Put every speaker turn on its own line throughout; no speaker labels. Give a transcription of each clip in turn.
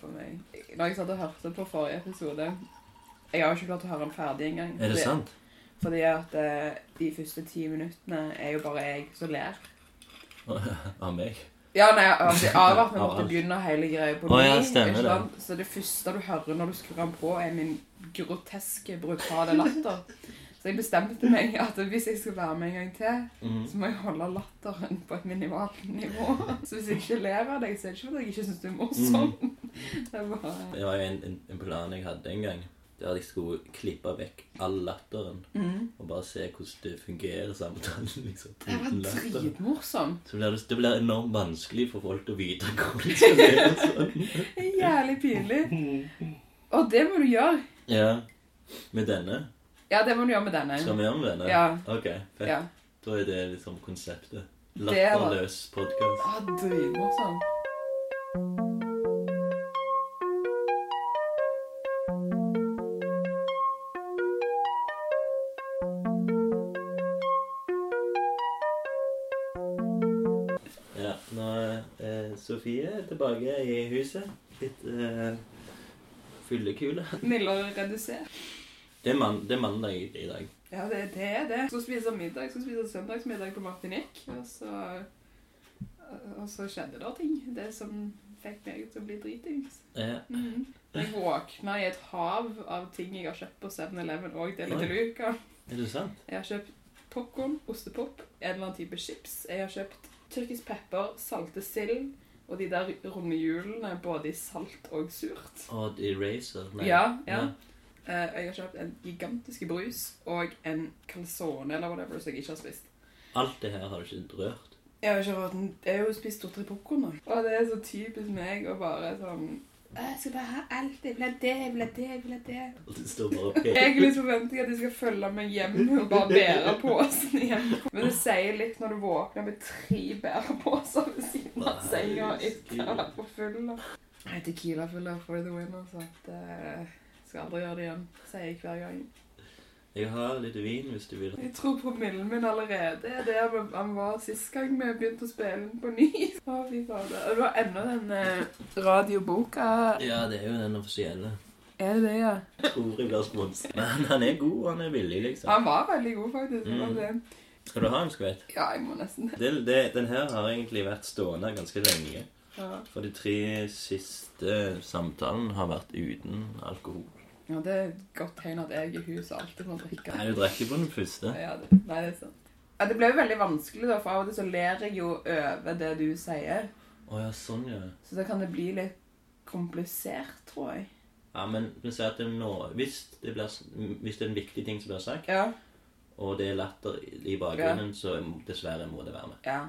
for meg. Når jeg satt og hørte på forrige episode Jeg har jo ikke klart å høre den ferdig engang.
Er det
fordi-
sant?
Fordi at eh, de første ti minuttene er jo bare jeg som ler.
Av meg?
Ja, nei, altså, av at vi
Av
måtte
alt.
begynne hele greia på
Å, ja,
ny,
stemmer
ikke
det.
sant? Så det første du hører når du skrur den på, er min groteske, brutale latter. Så jeg bestemte meg at hvis jeg skal være med en gang til, så må jeg holde latteren på et minimalt nivå. Så hvis jeg ikke ler av deg, så er det ikke fordi jeg ikke syns du er morsom.
Mm.
Det er bare
Det var jo en, en, en plan jeg hadde en gang. Der jeg skulle klippe vekk all latteren.
Mm.
Og bare se hvordan det fungerer samtalen. liksom.
Det var
uten latteren.
dritmorsom.
Så blir det, det blir enormt vanskelig for folk å vite hvor de skal se. og sånn.
Det er Jævlig pinlig. Og det må du gjøre.
Ja. Med denne?
Ja, det må du gjøre med denne.
Skal vi gjøre med denne?
Ja.
Ok, fett.
Ja.
Da er det liksom konseptet.
var-
Latterløs podkast.
Ah, Dritmorsom.
Ja, nå er eh, Sofie er tilbake i huset. Litt eh, fyllekule.
Mildere redusert.
Det er, man, det er mandag i dag.
Ja, det, det er det. Jeg skal spise middag. Jeg skal spise søndagsmiddag på Martinique. Og så, og så skjedde det ting. Det som fikk meg til å bli dritings.
Ja.
Mhm. Jeg våkna i et hav av ting jeg har kjøpt på 7-Eleven og Deli
Oi.
de Luca.
Er det sant?
Jeg har kjøpt popkorn, ostepop, en eller annen type chips. Jeg har kjøpt tyrkisk pepper, salte sild og de der runde hjulene både i salt og surt.
Odd Eraser?
Ja, ja. Eh, Jeg har kjøpt en gigantisk brus og en calzone eller whatever som jeg ikke har spist.
Alt det her har du ikke rørt.
Jeg har ikke rørt den. Jeg har jo spist to-tre popkorn. da. Og det er så typisk meg å bare sånn «Å, Jeg skal bare ha alt. Jeg vil ha det, jeg vil ha det, jeg vil ha det.
Og det står bare P.
Egentlig så forventer jeg at de skal følge meg hjem og bare bære posen hjem. Men det sier litt når du våkner med tre bæreposer ved siden av
Nei,
senga etter å
Tequila.
ha vært på full. Nei, Tequila fuller for the winner, så at eh, skal aldri gjøre det igjen, sier jeg hver gang.
Jeg har litt vin hvis du vil.
Jeg tror promillen min allerede er der hvor han var sist gang vi begynte å spille den på ny. Å, fy fader. Og det var enda den eh, radioboka.
Ja, det er jo den offisielle.
Er det det, ja?
Jeg tror jeg blir sponset. Men han er god, han er villig, liksom.
Han var veldig god, faktisk. Det var
Mm.
det.
Skal du ha en skvett?
Ja, jeg må nesten det.
Det, det, den her har egentlig vært stående ganske lenge.
Ja.
For de tre siste samtalene har vært uten alkohol.
Ja, det er et godt tegn at jeg i huset alltid må drikke.
Nei, du drakk jo på den første.
Ja, det, nei, det er sant. Ja, det ble jo veldig vanskelig, da, for av og til så ler jeg jo over det du sier.
Å ja, sånn, ja.
Så da kan det bli litt komplisert, tror jeg.
Ja, men vi sier at det nå, hvis det, blir, s- hvis det er en viktig ting som blir sagt,
Ja.
og det er latter i bakgrunnen, så dessverre må det være med.
ja.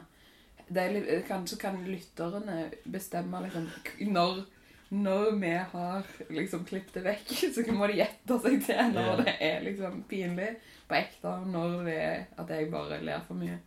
Det er litt, kanskje kan lytterne bestemme liksom, k- når, når vi har liksom, klippet det vekk. Så kan- må de gjette seg til når
Ja.
det er liksom, pinlig på ekte. Når det er at jeg bare ler for mye.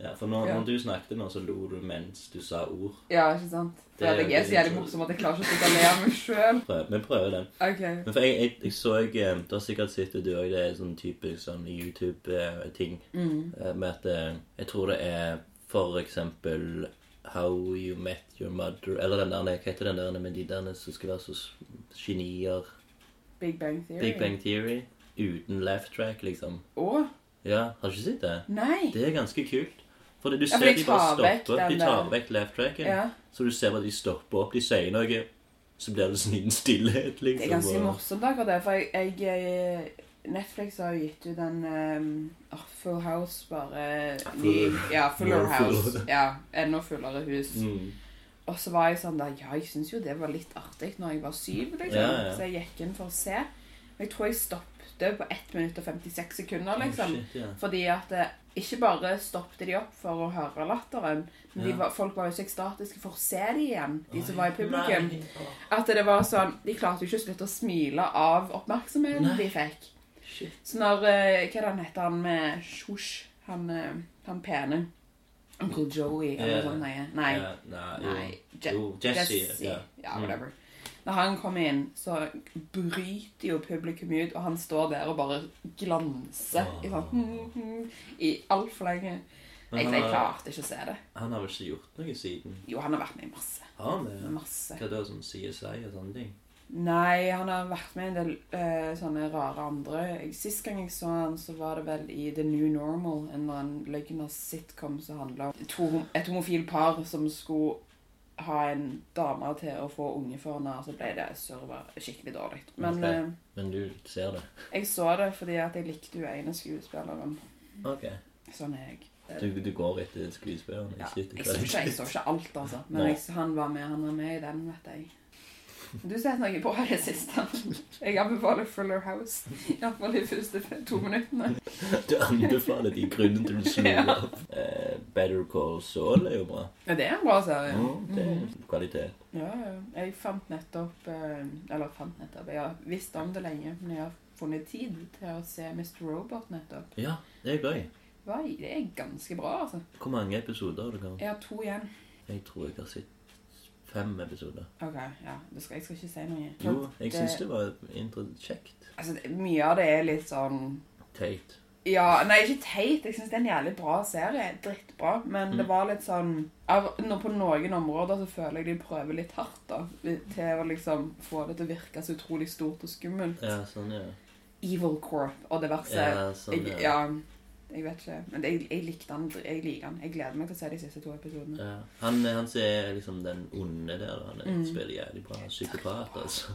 Ja, for når,
Ja.
når du snakket nå, så lo du mens du sa ord.
Ja, ikke sant? For
Det er
at jeg er så
veldig
jævlig
sant.
morsom at jeg klarer ikke å sitte og le av meg sjøl.
Prøv, vi prøver den.
Ok.
Men for jeg, jeg, jeg så eh, Du har sikkert sett det, du òg. Det er sånn typisk sånn YouTube-ting.
Mm.
Med at eh, Jeg tror det er for eksempel How You Met Your Mother Eller den der, hva heter den der med de der som skal være så s- genier?
Big Bang Theory?
Big Bang Theory. Uten laugh track, liksom.
Å,
Ja, har du ikke sett det?
nei!
Det er ganske kult. Fordi du
Ja, for
ser
de
de bare
tar vekk
stopper.
den
De tar
der-
vekk laugh tracken.
Ja.
Så du ser bare de stopper opp. De sier noe, så blir det sånn liten stillhet, liksom.
Det er ganske
og-
morsomt akkurat det, for jeg, jeg Netflix har jo gitt ut den um, Full House, bare ny, Ja, Fuller
More
House.
fuller.
Ja, Enda fullere hus.
Mm.
Og så var jeg sånn der Ja, jeg syns jo det var litt artig når jeg var syv, liksom.
Ja, ja.
Så jeg gikk inn for å se. Men jeg tror jeg stoppet på 1 minutt og 56 sekunder,
Å,
liksom.
Oh, shit, ja.
Fordi at eh, ikke bare stoppte de opp for å høre latteren, men de
Ja.
var, folk var jo så ekstatiske for å se de igjen, de som var i publikum.
Nei.
At det var sånn, De klarte jo ikke å slutte å smile av oppmerksomheten
Nei.
de fikk.
Shit.
Så når eh, Hva er det han heter han med Shush? Han, eh, han pene. Onkel Joey eller
Ja.
noe sånt. nei, Nei.
Ja, nei, jo.
Nei, Je-
Jo, Jesse.
Jesse.
Ja.
Ja,
Mm.
whatever. Når han kom inn, så bryter jo publikum ut, og han står der og bare glanser "Hmm,
Åh.
i sånn, i altfor lenge. Jeg,
han
jeg
har-
klarte ikke å se det.
Han har vel ikke gjort noe siden?
Jo, han har vært med i masse.
Har han det? ja?
Masse.
Hva da som CSI og sånne ting?
Nei, han har vært med i en del eh, sånne rare andre. Jeg- Sist gang jeg så han, så var det vel i The New Normal, en eller annen løgnas sitcom som handla om to, et homofilt par som skulle ha en dame til å få unge for henne, og så ble det server skikkelig dårlig. Men
Ok.
eh,
Men du ser det?
jeg så det fordi at jeg likte hun ene skuespilleren.
Ok.
Sånn er jeg.
Du, du går etter skuespilleren?
Ja,
ikke
jeg,
etter
så ikke, jeg
kvalitet.
så ikke alt, altså. Men
Nei.
jeg, han var med, han var med i den, vet jeg. Du har sett noe bra i det siste. Jeg anbefaler Fuller House. Iallfall de første to minuttene.
Du anbefaler de grunnene til å slo
Ja.
opp. Eh, Better Call Saul er jo bra.
Ja, det er en bra serie. Mm.
Mm, det er kvalitet.
Ja, ja. jeg fant nettopp eh, Eller fant nettopp Jeg har visst om det lenge, men jeg har funnet tid til å se Mr. Robot nettopp.
Ja, det er gøy.
Vai, det er ganske bra, altså.
Hvor mange episoder har du hatt?
Jeg har to igjen.
Jeg tror jeg har sett fem episoder.
OK, ja. det Skal, jeg skal ikke si noe.
Jo, jeg
Det-
syns det var intro- kjekt.
Altså, det- mye av det er litt sånn
Teit.
Ja, nei, ikke teit. Jeg syns det er en jævlig bra serie. Drittbra. Men det
Mm.
var litt sånn av, nå På noen områder så føler jeg de prøver litt hardt, da. Til å liksom få det til å virke så utrolig stort og skummelt.
Ja, sånn, ja.
Evil Corp og diverse.
Ja, sånn,
Altså, jeg,
ja.
ja. Jeg vet ikke. Men jeg, jeg likte han. Jeg liker han. Jeg gleder meg til å se de siste to episodene.
ja. Han, han som er liksom den onde der, han er-
Mm.
spiller jævlig bra. Psykopat, altså.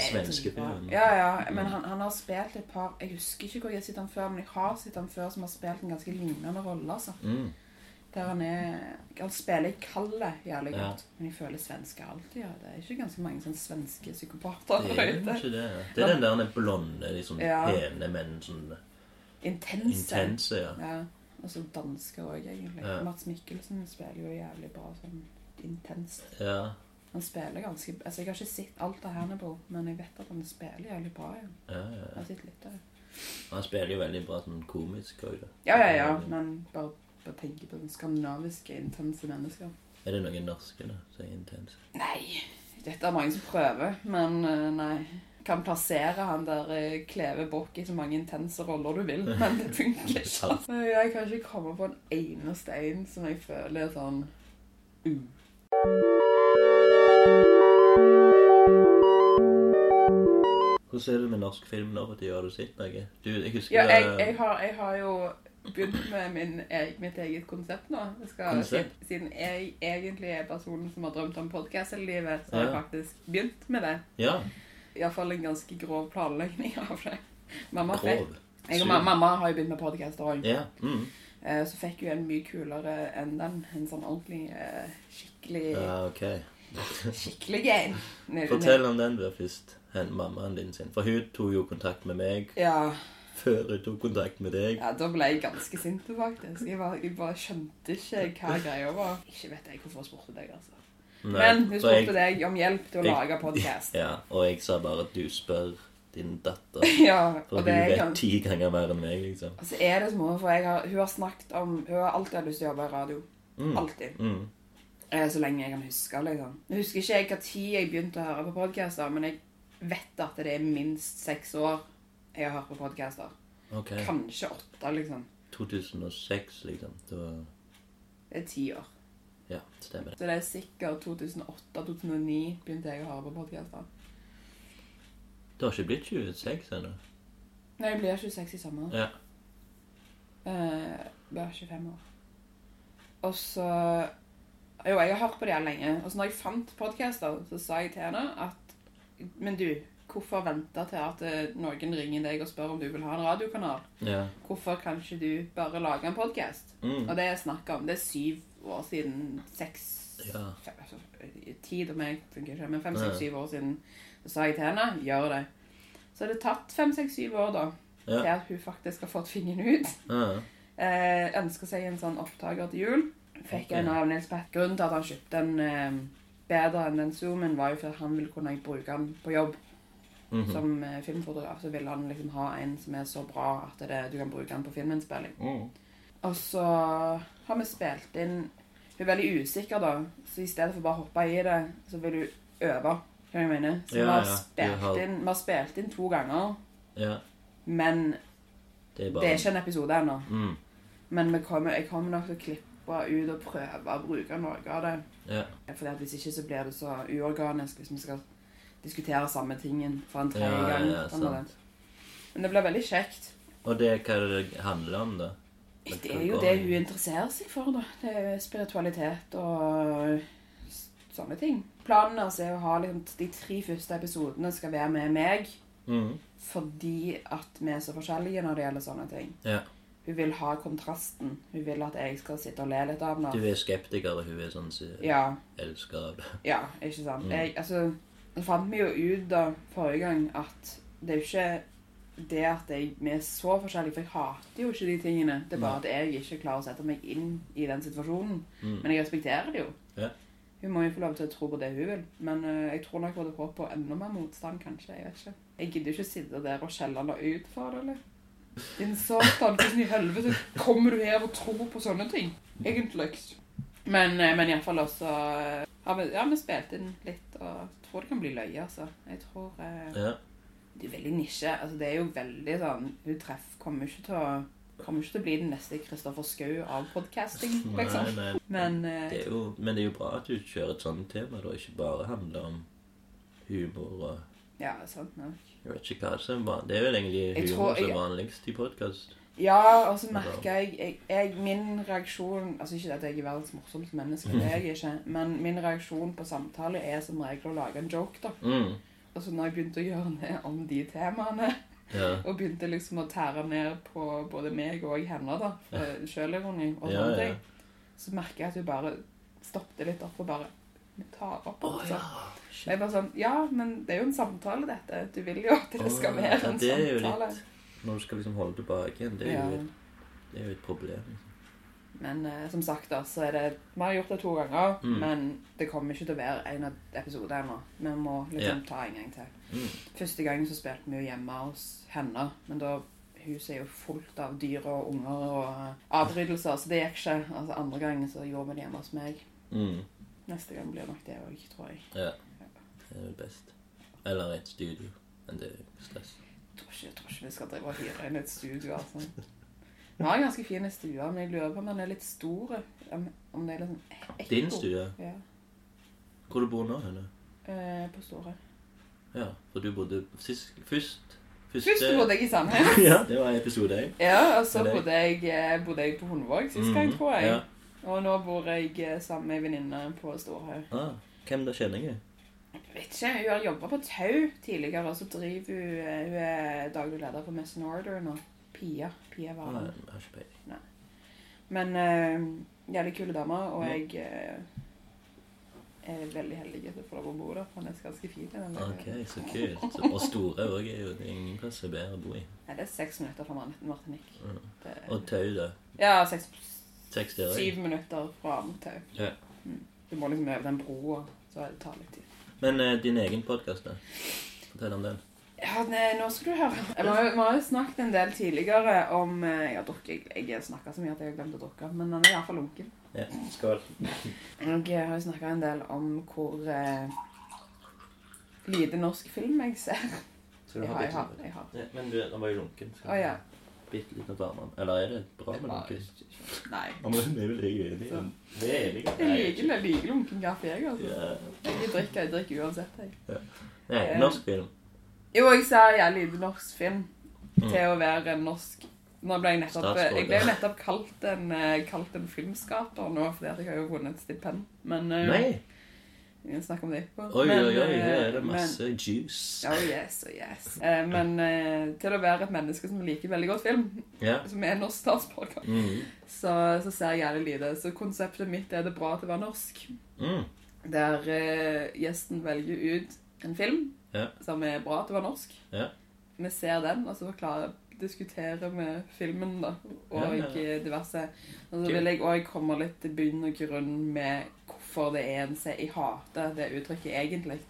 Det er
svenske
dritbra.
filmen. Mm.
Ja, ja. Men han, han har spilt et par Jeg husker ikke hvor jeg har sett han før, men jeg har sett han før som har spilt en ganske lignende rolle, altså.
Mm.
Der han er Han spiller i Kalle jævlig
Ja.
godt. Men jeg føler svensker alltid gjør det. Det er ikke ganske mange sånne svenske psykopater
Det
der
er jo
ute.
ikke det. ja. Det er den der den blonde, liksom
Ja.
pene, men sånn
Intense.
intense, ja.
Ja. Og så dansker òg, egentlig.
Ja.
Mats Mikkelsen spiller jo jævlig bra sånn intenst.
ja.
Han spiller ganske Altså, jeg har ikke sett alt av Hannibal, men jeg vet at han spiller jævlig bra. Ja.
Ja, ja,
Jeg
ja.
har sett litt av det.
Han spiller jo veldig bra sånn komisk òg, da.
Ja, ja, ja. Men bare, bare tenke på den skandinaviske intense mennesker.
Er det noen norske da, som er intense?
Nei, dette er mange som prøver, men eh, nei. Kan plassere han der eh, Kleve Bokk i så mange intense roller du vil, men det funker ikke.
Sant.
Eh, Jeg kan ikke komme på en eneste en som jeg føler er sånn uh.
Hvordan er det med norsk film nå? at de Har du sett noe? Du, jeg husker
Ja, jeg,
det-
jeg, har, jeg har jo begynt med min, e- mitt eget konsept nå. Jeg skal,
Konsept?
Siden jeg egentlig er personen som har drømt om podkast hele livet, så har jeg
Ja.
faktisk begynt med det.
Ja,
Iallfall en ganske grov planlegging av det. Mamma, fikk,
grov.
jeg og
Sur.
mamma, mamma har jo begynt med podkast òg.
Ja. Mm.
Eh, Så fikk hun en mye kulere enn den. En sånn ordentlig, eh, skikkelig
Ja, ok.
skikkelig en. Nede-
Fortell om den der først. hen- Mammaen din sin. For hun tok jo kontakt med meg
nede- Ja,
før hun tok kontakt med deg.
ja, da ble jeg ganske sint, faktisk. Jeg, var, jeg bare skjønte ikke hva greia var. Ikke vet jeg hvorfor hun spurte deg, altså.
Nei,
Men hun
for
spurte
jeg-
deg om hjelp til å
jeg-
lage podkast.
Ja, og jeg sa bare at du spør din datter.
Ja,
For
og
hun
det er
vet
ganske
ti ganger mer enn meg, liksom.
Altså er det små, for jeg har, Hun har snakket om Hun har alltid hatt lyst til å jobbe i radio.
Mm.
Alltid.
Mm.
Eh, Så lenge jeg kan huske. liksom. Jeg husker ikke jeg hva tid jeg begynte å høre på podcaster, men jeg vet at det er minst seks år jeg har hørt på podcaster.
Ok.
Kanskje åtte, liksom.
2006, liksom. Det var
Det er ti år.
Ja, stemmer det.
Så det er sikkert 2008-2009 begynte jeg å høre på podcaster.
Det har ikke blitt 26 ennå.
Nei, jeg blir 26 i sommer.
Ja.
Eh, blir 25 år. Og så Jo, jeg har hørt på det her lenge. Og så når jeg fant podcaster, så sa jeg til henne at Men du, hvorfor vente til at eh, noen ringer deg og spør om du vil ha en radiokanal?
Ja.
Hvorfor kan ikke du bare lage en podkast?
Mm.
Og det er snakk om. Det er syv år siden seks
Ja.
fem, altså, Tid om jeg funker ikke, men fem,
Ja.
seks, syv år siden så sa jeg til henne gjør det. Så har det tatt fem, seks, syv år da til
Ja.
at hun faktisk har fått fingeren ut.
ja.
Eh, ønsker seg en sånn opptaker til jul. Fikk
Ok.
en av Nils Pett. Grunnen til at han kjøpte en eh, bedre enn den Zoomen, var jo for at han ville kunne bruke den på jobb.
Mhm.
Som eh, filmfotograf så vil han liksom ha en som er så bra at det, du kan bruke den på filminnspilling.
Mm.
Og så har vi spilt inn Hun er veldig usikker, da, så i stedet for bare å hoppe i det, så vil hun øve. Hva jeg mener? Så
Ja,
vi, har
ja.
spilt
Vi har-
Inn, vi har spilt inn to ganger,
Ja.
men
Det er bare
det er ikke en episode ennå.
mm.
Men vi kommer, jeg kommer nok til å klippe ut og prøve å bruke noe av det.
Ja.
Fordi at Hvis ikke så blir det så uorganisk hvis vi skal diskutere samme tingen for en
Ja,
tredje gang.
ja,
på en måte. Men det blir veldig kjekt.
Og det hva det handler om, da?
Det er jo det hun interesserer seg for, da. Det er jo spiritualitet og s- sånne ting. Planen hennes er å ha liksom, de tre første episodene skal være med meg
Mhm.
fordi at vi er så forskjellige når det gjelder sånne ting.
Ja.
Hun vil ha kontrasten. Hun vil at jeg skal sitte og le litt av
Du
henne.
er skeptiker, og hun er sånn som
Ja.
elsker av det.
Ja, ikke sant.
Mm.
Jeg, altså, det fant vi jo ut da forrige gang at det er jo ikke det at jeg, vi er så forskjellige, for jeg hater jo ikke de tingene. Det er bare at jeg ikke klarer å sette meg inn i den situasjonen.
Mm.
Men jeg respekterer det jo.
Ja.
Hun må jo få lov til å tro på det hun vil. Men øh, jeg tror nok hun hadde håpet på enda mer motstand, kanskje. Jeg vet ikke. Jeg gidder ikke sitte der og skjelle henne ut for det, eller? Din satan, hvordan i helvete kommer du her og tror på sånne ting? Egentlig. Men, øh, men iallfall også øh, ja, vi, ja, vi spilte inn litt, og jeg tror det kan bli løye, altså. Jeg tror øh,
Ja.
Det er veldig nisje. Altså, det er jo veldig sånn Hun treff kommer ikke til å Kommer ikke til å bli den neste Kristoffer Schou av podcasting, liksom.
Nei, nei.
Men øh,
Det er jo, men det er jo bra at du kjører et sånt tema, da. Ikke bare handler om humor og
Ja, sant nok.
Jeg vet ikke hva som er vanlig. Det er vel egentlig
Jeg
humor
tror
som
jeg-
er vanligst i podkast.
Ja, og så merker jeg, jeg, jeg Min reaksjon Altså ikke at jeg er verdens morsomste menneske, det er jeg ikke, men min reaksjon på samtale er som regel å lage en joke, da.
Mm.
Og så når jeg begynte å gjøre det om de temaene,
Ja.
og begynte liksom å tære ned på både meg og henne, da, eh, for sjølironi og
Ja,
sånne
ja.
ting, så merker jeg at hun bare stoppet litt opp og bare Vi tar opp,
Å,
altså. Og
Shit.
Jeg bare sånn Ja, men det er jo en samtale, dette. Du vil jo at det skal
Å,
være
ja,
en
det er jo
samtale.
litt- Når du skal liksom holde tilbake igjen, det er jo et, det er jo et problem. liksom.
Men eh, som sagt, da, så er det Vi har gjort det to ganger,
Mm.
men det kommer ikke til å være en episode ennå. Vi må liksom ta en gang til.
Mm.
Første gangen så spilte vi jo hjemme hos henne, men da Huset er jo fullt av dyr og unger og eh, avbrytelser, så det gikk ikke. Altså Andre gangen så gjorde vi det hjemme hos meg.
Mm.
Neste gang blir nok det òg, tror jeg.
Det er jo best. Eller et studio. Men det er jo stress.
Jeg tror ikke, jeg tror ikke vi skal drive og hyre inn et studio, altså. Vi har en ganske fin stue, men jeg lurer på om den er litt stor. eh, Om, om det er liksom ekko.
Din studie?
Ja.
Hvor du bor nå? Henne?
eh, på Store.
Ja, for du bodde sist, først
Først bodde jeg i Sandheim.
Ja, det var episode 1.
Ja, og så
Eller-
bodde jeg, eh, bodde jeg på Hundvåg sist gang, tror jeg.
Mhm. Ja.
Og nå bor jeg eh, sammen med ei venninne på Storhaug.
Ah, hvem da kjenner jeg?
Jeg Vet ikke, Hun har jobba på Tau tidligere, og så driver hun eh, Hun er daglig leder for Mess Order nå. Pia. Pia
Ah,
Varen.
jeg har ikke peiling.
Men eh, jævlig kule damer, og
Ja.
jeg eh, er veldig heldig til å få lov å bo der. for Den er ganske fin. Den der.
Ok, så kult. Så- Og store òg er jo det er ingen plass som er bedre å bo i.
Nei, det er seks minutter fra Mar- Martinique.
Mm.
Det er,
Og Tau, da.
ja, seks,
Seks der òg.
syv minutter fra Tau.
Ja.
Mm. Du må liksom over den broa, så det tar litt tid.
Men eh, din egen podkast, da? Fortell om den.
Ja, nei, nå skal du høre. Vi har jo- vi har jo snakket en del tidligere om eh, Jeg har drukket, jeg, jeg snakket så mye at jeg har glemt å drukke, men den er iallfall lunken.
Ja, skål.
Jeg har jo snakket en del om hvor eh, lite norsk film jeg ser.
Skal
Jeg har, jeg har, jeg har.
Ja, men du, den var jo lunken. Skal
Å ja.
Bitte litt varmere. Eller er det bra
Det
med
var-
lunken?
Nei.
Ja, men det er vel jeg enig i.
Så.
Vi er enige.
Jeg liker, jeg liker lunken kaffe, jeg. altså.
Ja.
Jeg drikker, jeg drikker uansett, jeg.
Nei,
Eh,
norsk film.
Jo, jeg ser jævlig lite norsk film
Mm.
til å være en norsk Nå ble jeg nettopp Jeg ble
Statsborger.
nettopp kalt en, eh, kalt en filmskaper nå, fordi at jeg har jo vunnet et stipend. Men eh,
Nei!
Vi kan snakke om det etterpå.
Oi,
Men,
oi, oi, her er
eh,
det masse juice.
Men, oh yes, oh yes. Eh, Men eh, til å være et menneske som liker veldig godt film,
Ja.
som er norsk statsborger,
Mm.
så, så ser jeg jævlig lite. Så konseptet mitt er det bra til å være norsk.
Mm.
Der eh, gjesten velger ut en film
Ja.
som er bra til å være norsk.
Ja.
Vi ser den, og så forklarer diskuterer vi filmen, da, og
Ja, ja, ja.
eh, diverse. Og så
Kult.
vil jeg òg komme litt til bunn og grunn med hvorfor det er en se jeg hater det uttrykket egentlig.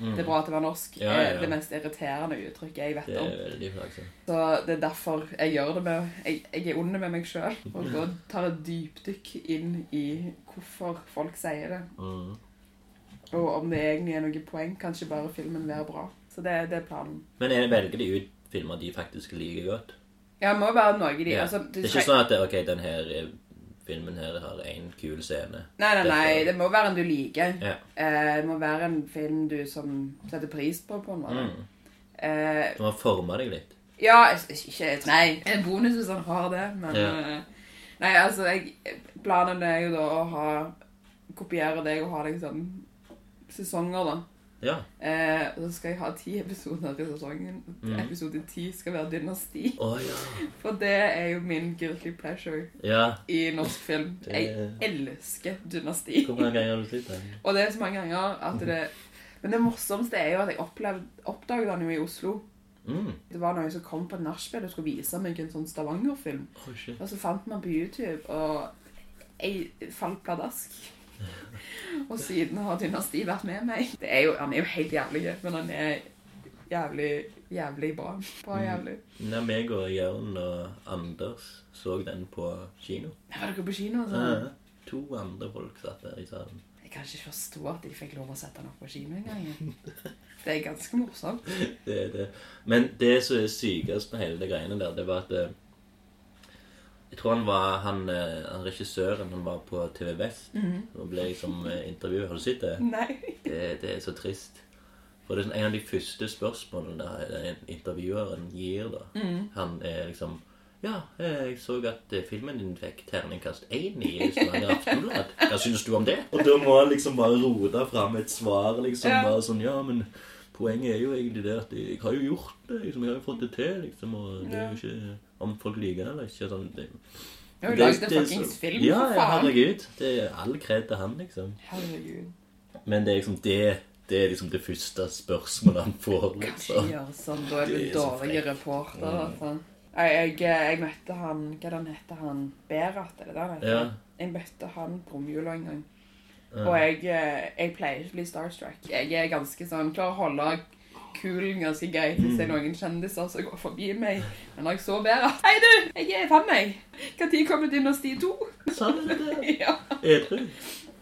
Mm.
Det er bra at det var norsk.
Ja, ja, ja.
er Det mest irriterende uttrykket jeg vet
Det
om.
er veldig altså. plagsomt.
Så det er derfor jeg gjør det med Jeg, jeg er ond med meg sjøl og går, tar et dypdykk inn i hvorfor folk sier det.
Mm.
Og om det egentlig er noe poeng. Kanskje bare filmen være bra. Så det, det er planen.
Men er det velger de ut filmer de faktisk liker godt?
Ja, det må jo være noe de
Ja.
altså,
Det er ikke sånn at det, ok, den her eh, filmen her har én kul scene.
Nei, nei, nei.
Dette-
Det må være en du liker.
Ja.
Eh, det må være en film du som setter pris på, på en måte.
Mm.
Eh,
Som har forma deg litt.
Ja, jeg- jeg- ikke Nei, en bonus hvis han har det, men
Ja.
eh, Nei, altså, jeg, planen er jo da å ha Kopiere deg og ha deg sånn sesonger, da.
Ja.
Eh, og så skal jeg ha ti episoder i sesongen.
Mhm.
Episode ti skal være dynasti.
Å ja.
For det er jo min guilty pleasure
Ja.
i norsk film.
Det-
Jeg elsker dynasti.
Hvor mange ganger har du sett den?
Og det er så mange ganger at det Men det morsomste er jo at jeg opplevde, oppdaget han jo i Oslo.
Mm.
Det var noen som kom på et nachspiel og skulle vise meg en sånn Stavanger-film.
Oh, shit.
Og så fant man på YouTube, og jeg falt pladask. Og siden har Dynasti vært med meg. Det er jo, han er jo helt jævlig, men han er jævlig, jævlig bra. Bra
Mm.
jævlig.
Nei, meg og Jørn og Anders så den på kino.
Var dere på kino?
Ja.
Altså?
To andre folk satt der i salen.
Jeg kan ikke forstå at de fikk lov å sette han opp på kino en gang. Det er ganske morsomt.
Det er det. Men det som er sykest med hele det greiene der, det var at eh, Jeg tror han var han, eh, han regissøren han var på TV Vest og ble liksom eh, intervjuet. Har du sett det?
Nei.
det? Det er så trist. For det er sånn, en av de første spørsmålene der en intervjueren gir, da
Mm.
Han er liksom Ja, eh, jeg så at eh, filmen din fikk terningkast én i Stavanger Aftenblad. Hva syns du om det? Og da må han liksom bare rote fram et svar, liksom.
Ja.
Bare sånn Ja, men poenget er jo egentlig det at jeg har jo gjort det. liksom, Jeg har jo fått det til, liksom. Og det er jo ikke om folk liker det eller ikke. sånn, det,
Jeg har jo
det-
laget en
det er så-
fuckings film,
Ja,
for
ja,
faen.
herregud. Det er all kred til han, liksom.
Herregud.
Men det er liksom det det er liksom det første spørsmålet han får.
Kanskje
liksom.
gjør sånn, da er du
Det er så
dårlig
frekt.
reporter. Altså. Jeg, jeg, eh, jeg møtte han Hva den heter han? Berat, er det det han heter?
Ja.
Jeg møtte han på romjula en gang.
Ja.
Og jeg, eh, jeg pleier ikke å bli starstruck. Jeg er ganske sånn Klarer å holde kulen ganske greit hvis
Mm.
det er noen kjendiser som går forbi meg. Men når jeg så Berat Hei, du! Jeg er fan, jeg! Når kommer Dynasti 2?
Sa du det?
ja.
Edru?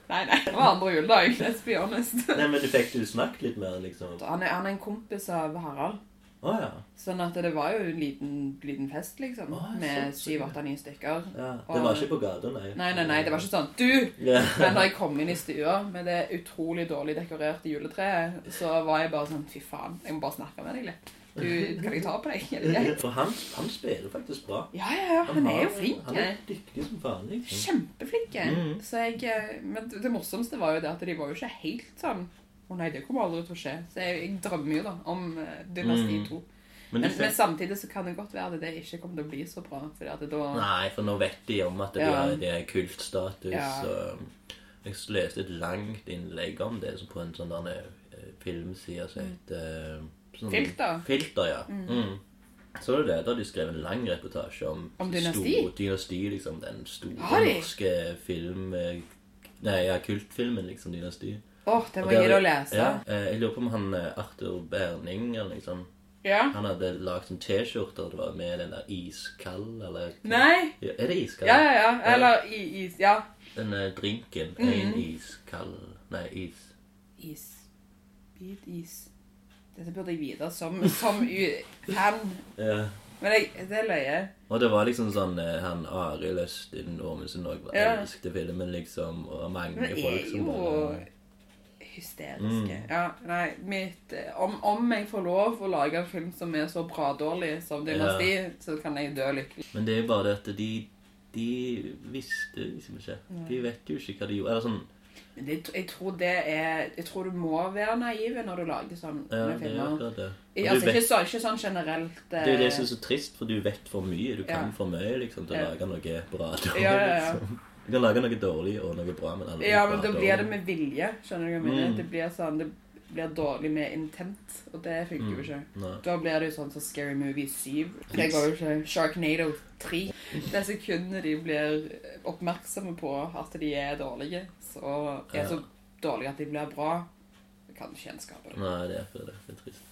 Nei, nei. Det var andre juledag. Let's be honest.
Nei, men du fikk du snakket litt mer, liksom? Å
Han er, han er en kompis av Harald.
ja.
Sånn at det var jo en liten, liten fest, liksom.
Å,
med
sånn, sånn.
syv, åtte, ni stykker.
ja. Det var ikke på gata, nei?
Nei, nei, nei, det var ikke sånn Du!
Ja.
Men da jeg kom inn i stua med det utrolig dårlig dekorerte juletreet, så var jeg bare sånn Fy faen, jeg må bare snakke med deg litt. Du, kan jeg ta på deg? Er det greit?
For han, han spiller faktisk bra.
Ja, ja, ja. Han er
har-
jo flink.
Han er
jeg.
dyktig som faen, liksom.
Kjempeflink. jeg.
Mhm.
Så jeg eh, Men det det morsomste var jo det at de var jo ikke helt sånn Å nei, det kommer aldri til å skje. Så jeg, jeg drømmer jo da om eh, Dynasti 2.
Mhm. Men du
Men, men
fikk...
samtidig så kan det godt være at det ikke kommer til å bli så bra. Fordi at da
Nei, for nå vet de om at det
Ja.
er- det er kultstatus.
Ja.
Og jeg leste et langt innlegg om det så på en sånn der eh, filmside som heter eh, sånn-
Mm. Filter.
Filter, ja. Mm. Så du det? Da har de skrevet en lang reportasje om,
Om dynasti?
stor- dynasti, liksom, den
Har
store
de?
norske film... eh, Nei, ja, kultfilmen, liksom, dynasti.
Åh, det
Og
var
der-
gøy å lese.
Ja, eh, jeg lurer på om han eh, Arthur Berning eller liksom,
Ja.
Han hadde lagd en T-skjorte og det var med den der iskald eller
Nei.
Ja, Er det iskald?
Ja, ja, ja. Eller i, is. Ja.
Den eh, drinken.
Mm-hmm.
En iskald Nei, is.
Is. Bit is. Dette burde jeg vite som, som u- fan.
Ja.
Men jeg, det er løye.
Og det var liksom sånn eh, Han Arild Østin Ormundsen òg var
Ja.
elsket filmen, liksom. Og mange
Men jeg
folk
er
som
jo
bare Mm.
hysteriske. Ja, nei, mitt, eh, om, om jeg får lov å lage en film som er så bra dårlig som Dynasti, så kan jeg dø lykkelig.
Men det er jo bare det at de de visste liksom ikke.
Mm.
De vet jo ikke hva de gjorde. Eller sånn
Men det, jeg tror det er Jeg tror du må være naiv når du lager sånne
Ja, det er
filmer.
akkurat det. Og
I-
du
Altså,
vet
ikke, så, ikke sånn generelt.
Det er jo det
eh,
som er så trist, for du vet for mye. Du kan
Ja.
for mye liksom, til å
Ja.
lage noe bra. Dårlig,
Ja, ja, ja.
Liksom. Du kan lage noe dårlig og noe bra, men aldri
Ja,
bra
men da
dårlig.
blir det med vilje, skjønner du hva jeg mener?
Mm.
Det blir sånn, det blir dårlig med intent, og det funker jo ikke.
Nei.
Da blir det jo sånn som Scary Movie 7. Det går jo ikke. Sharknado 3. Det sekundet de blir oppmerksomme på at de er dårlige, så er så dårlige at de blir bra, kan du ikke gjenskape det.
Nei, det er for det. Det er trist.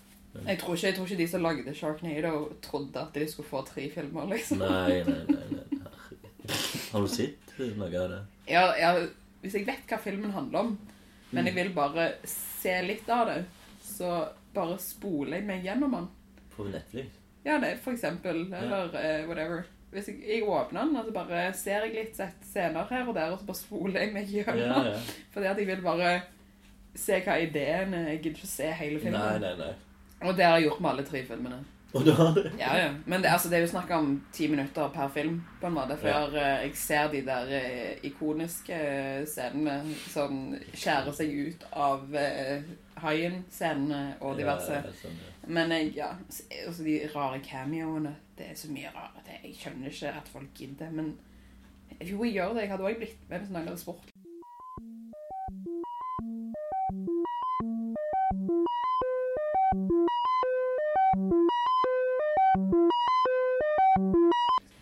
Jeg tror, ikke, jeg tror ikke de som lagde Sharknado trodde at de skulle få tre filmer, liksom.
Nei, nei, nei. nei. Herregud. Har du sett noe av det?
Ja, ja, hvis jeg vet hva filmen handler om, men
Mm.
jeg vil bare se litt av det, så bare spoler jeg meg gjennom den.
På Netflix?
Ja, det, for eksempel, eller eh, whatever. Hvis jeg, jeg åpner den, og så bare ser jeg litt sett scener her og der, og så bare spoler jeg meg
Ja,
gjennom.
ja.
Fordi at jeg vil bare se hva ideen er. Jeg gidder ikke se hele filmen.
Nei, nei, nei.
Og det har jeg gjort med alle tre filmene.
Og du har det?
Ja, ja. Men det, altså, det er jo snakk om ti minutter per film, på en måte, før eh, jeg ser de der eh, ikoniske eh, scenene som skjærer seg ut av eh, haien-scenene og diverse.
Ja, sånn, ja.
Men jeg, ja, s- altså de rare cameoene, det er så mye rare. Det, jeg skjønner ikke at folk gidder, men jo, jeg gjør det. Jeg hadde også blitt med sånn hvis noen hadde spurt.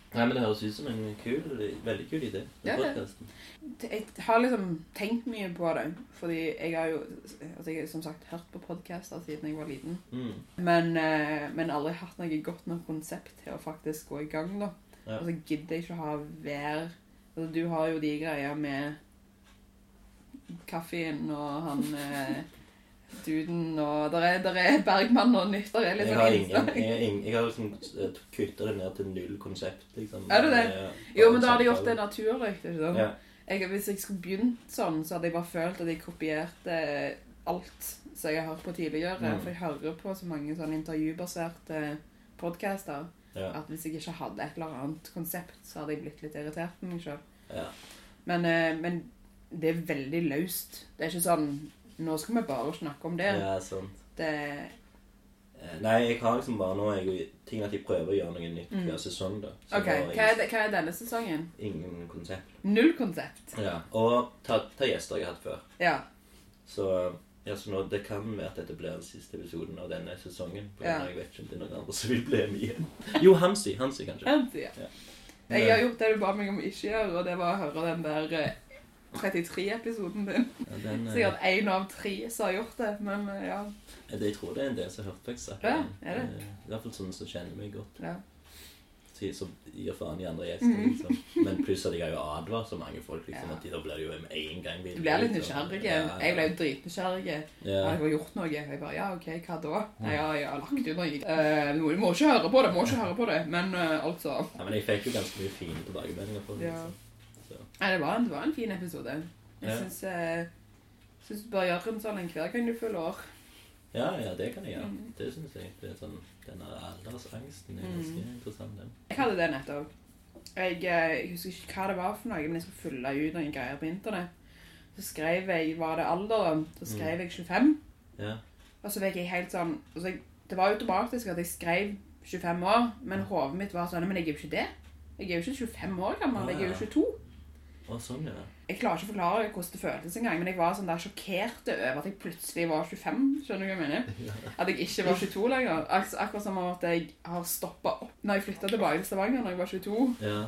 Nei, men det høres ut som en kul, veldig kul idé.
Ja,
Den
det-
podcasten.
Jeg har liksom tenkt mye på det, fordi jeg har jo, altså jeg har som sagt hørt på podcaster siden jeg var liten.
Mm.
Men, eh, men aldri hatt noe godt nok konsept til å faktisk gå i gang, da.
Ja.
Og så gidder jeg ikke å ha hver altså, Du har jo de greia med kaffen og han eh, duden og Der er, der er Bergman og nytt. Der er litt
Jeg
sånn
har, ingen,
innslag.
jeg, har ingen- jeg har liksom kutta det ned til null konsept, liksom.
Er det det?
Ja.
Jo, men da hadde jeg gjort det naturlig. ikke sant?
Ja.
Jeg, hvis jeg skulle begynt sånn, så hadde jeg bare følt at jeg kopierte alt som jeg har hørt på tidligere.
Mm.
For jeg hører på så mange sånne intervjubaserte podcaster.
Ja.
At hvis jeg ikke hadde et eller annet konsept, så hadde jeg blitt litt irritert på meg sjøl.
Ja.
Men, eh, men det er veldig løst. Det er ikke sånn Nå skal vi bare snakke om det.
ja, sant.
Det
Eh, Nei, jeg har liksom bare nå jeg, ting at jeg prøver å gjøre noe nytt
Mm.
hver sesong, da. Så
OK,
da har
hva er,
jeg
det- hva er denne sesongen?
ingen konsept.
Null konsept.
Ja. Og ta, ta gjester jeg har hatt før.
Ja.
Så ja, så nå, det kan være at dette blir den siste episoden av denne sesongen. På grunn av
Ja.
Jeg vet ikke om det er noen andre som vil bli med igjen. Jo, Hansi. Hansi, kanskje.
sant, ja. Jeg har gjort det du ba meg om ikke å gjøre, og det var å høre den der eh, 33-episoden din.
Ja, den, eh,
Sikkert én av tre som har gjort det, men eh, ja.
Det- Jeg tror det er en del som har hørt på ekstra.
Ja, er det?
I hvert fall sånne som kjenner meg godt.
ja.
Som som gir faen i andre gjester, liksom. Men pluss at jeg har jo advart så mange folk,
Mhm.
liksom,
Ja.
at de da blir det jo med en gang liksom.
Du blir litt nysgjerrig. Jeg ble jo dritnysgjerrig. Ja,
Ja.
jeg har gjort noe. Jeg bare, ja, ok, hva da? Nei, ja, jeg har lagt ut noe. Eh, du må ikke høre på det, må ikke høre på det. Men eh, altså,
ja, men jeg fikk jo ganske mye fine tilbakemeldinger på det.
Ja.
Liksom.
nei, det, var en, det var en fin episode. Jeg
Ja.
synes, eh, synes du bør gjøre en sånn en hver gang du føler år.
Ja, ja, det kan jeg gjøre.
Mhm.
Det synes jeg. Det er sånn, Den aldersangsten er
Mhm.
ganske interessant, den.
Jeg hadde det nettopp. Jeg, eh, jeg husker ikke hva det var for noe, men jeg skulle fylle ut noen greier på internett. Så skrev jeg, var det alderen? Så skrev jeg 25.
Ja.
Og så fikk jeg helt sånn, og så jeg, det var automatisk at jeg skrev 25 år, men hovedet mitt var sånn, men jeg er jo ikke det. Jeg er jo ikke 25 år gammel, jeg er jo 22.
Å, sånn, ja.
jeg klarer ikke å forklare hvordan det føltes engang, men jeg var sånn der sjokkert over at jeg plutselig var 25. Skjønner du hva jeg mener? At jeg ikke var 22 lenger. Altså, akkurat som om at jeg har stoppa opp når jeg flytta tilbake til Stavanger når jeg var 22.
ja.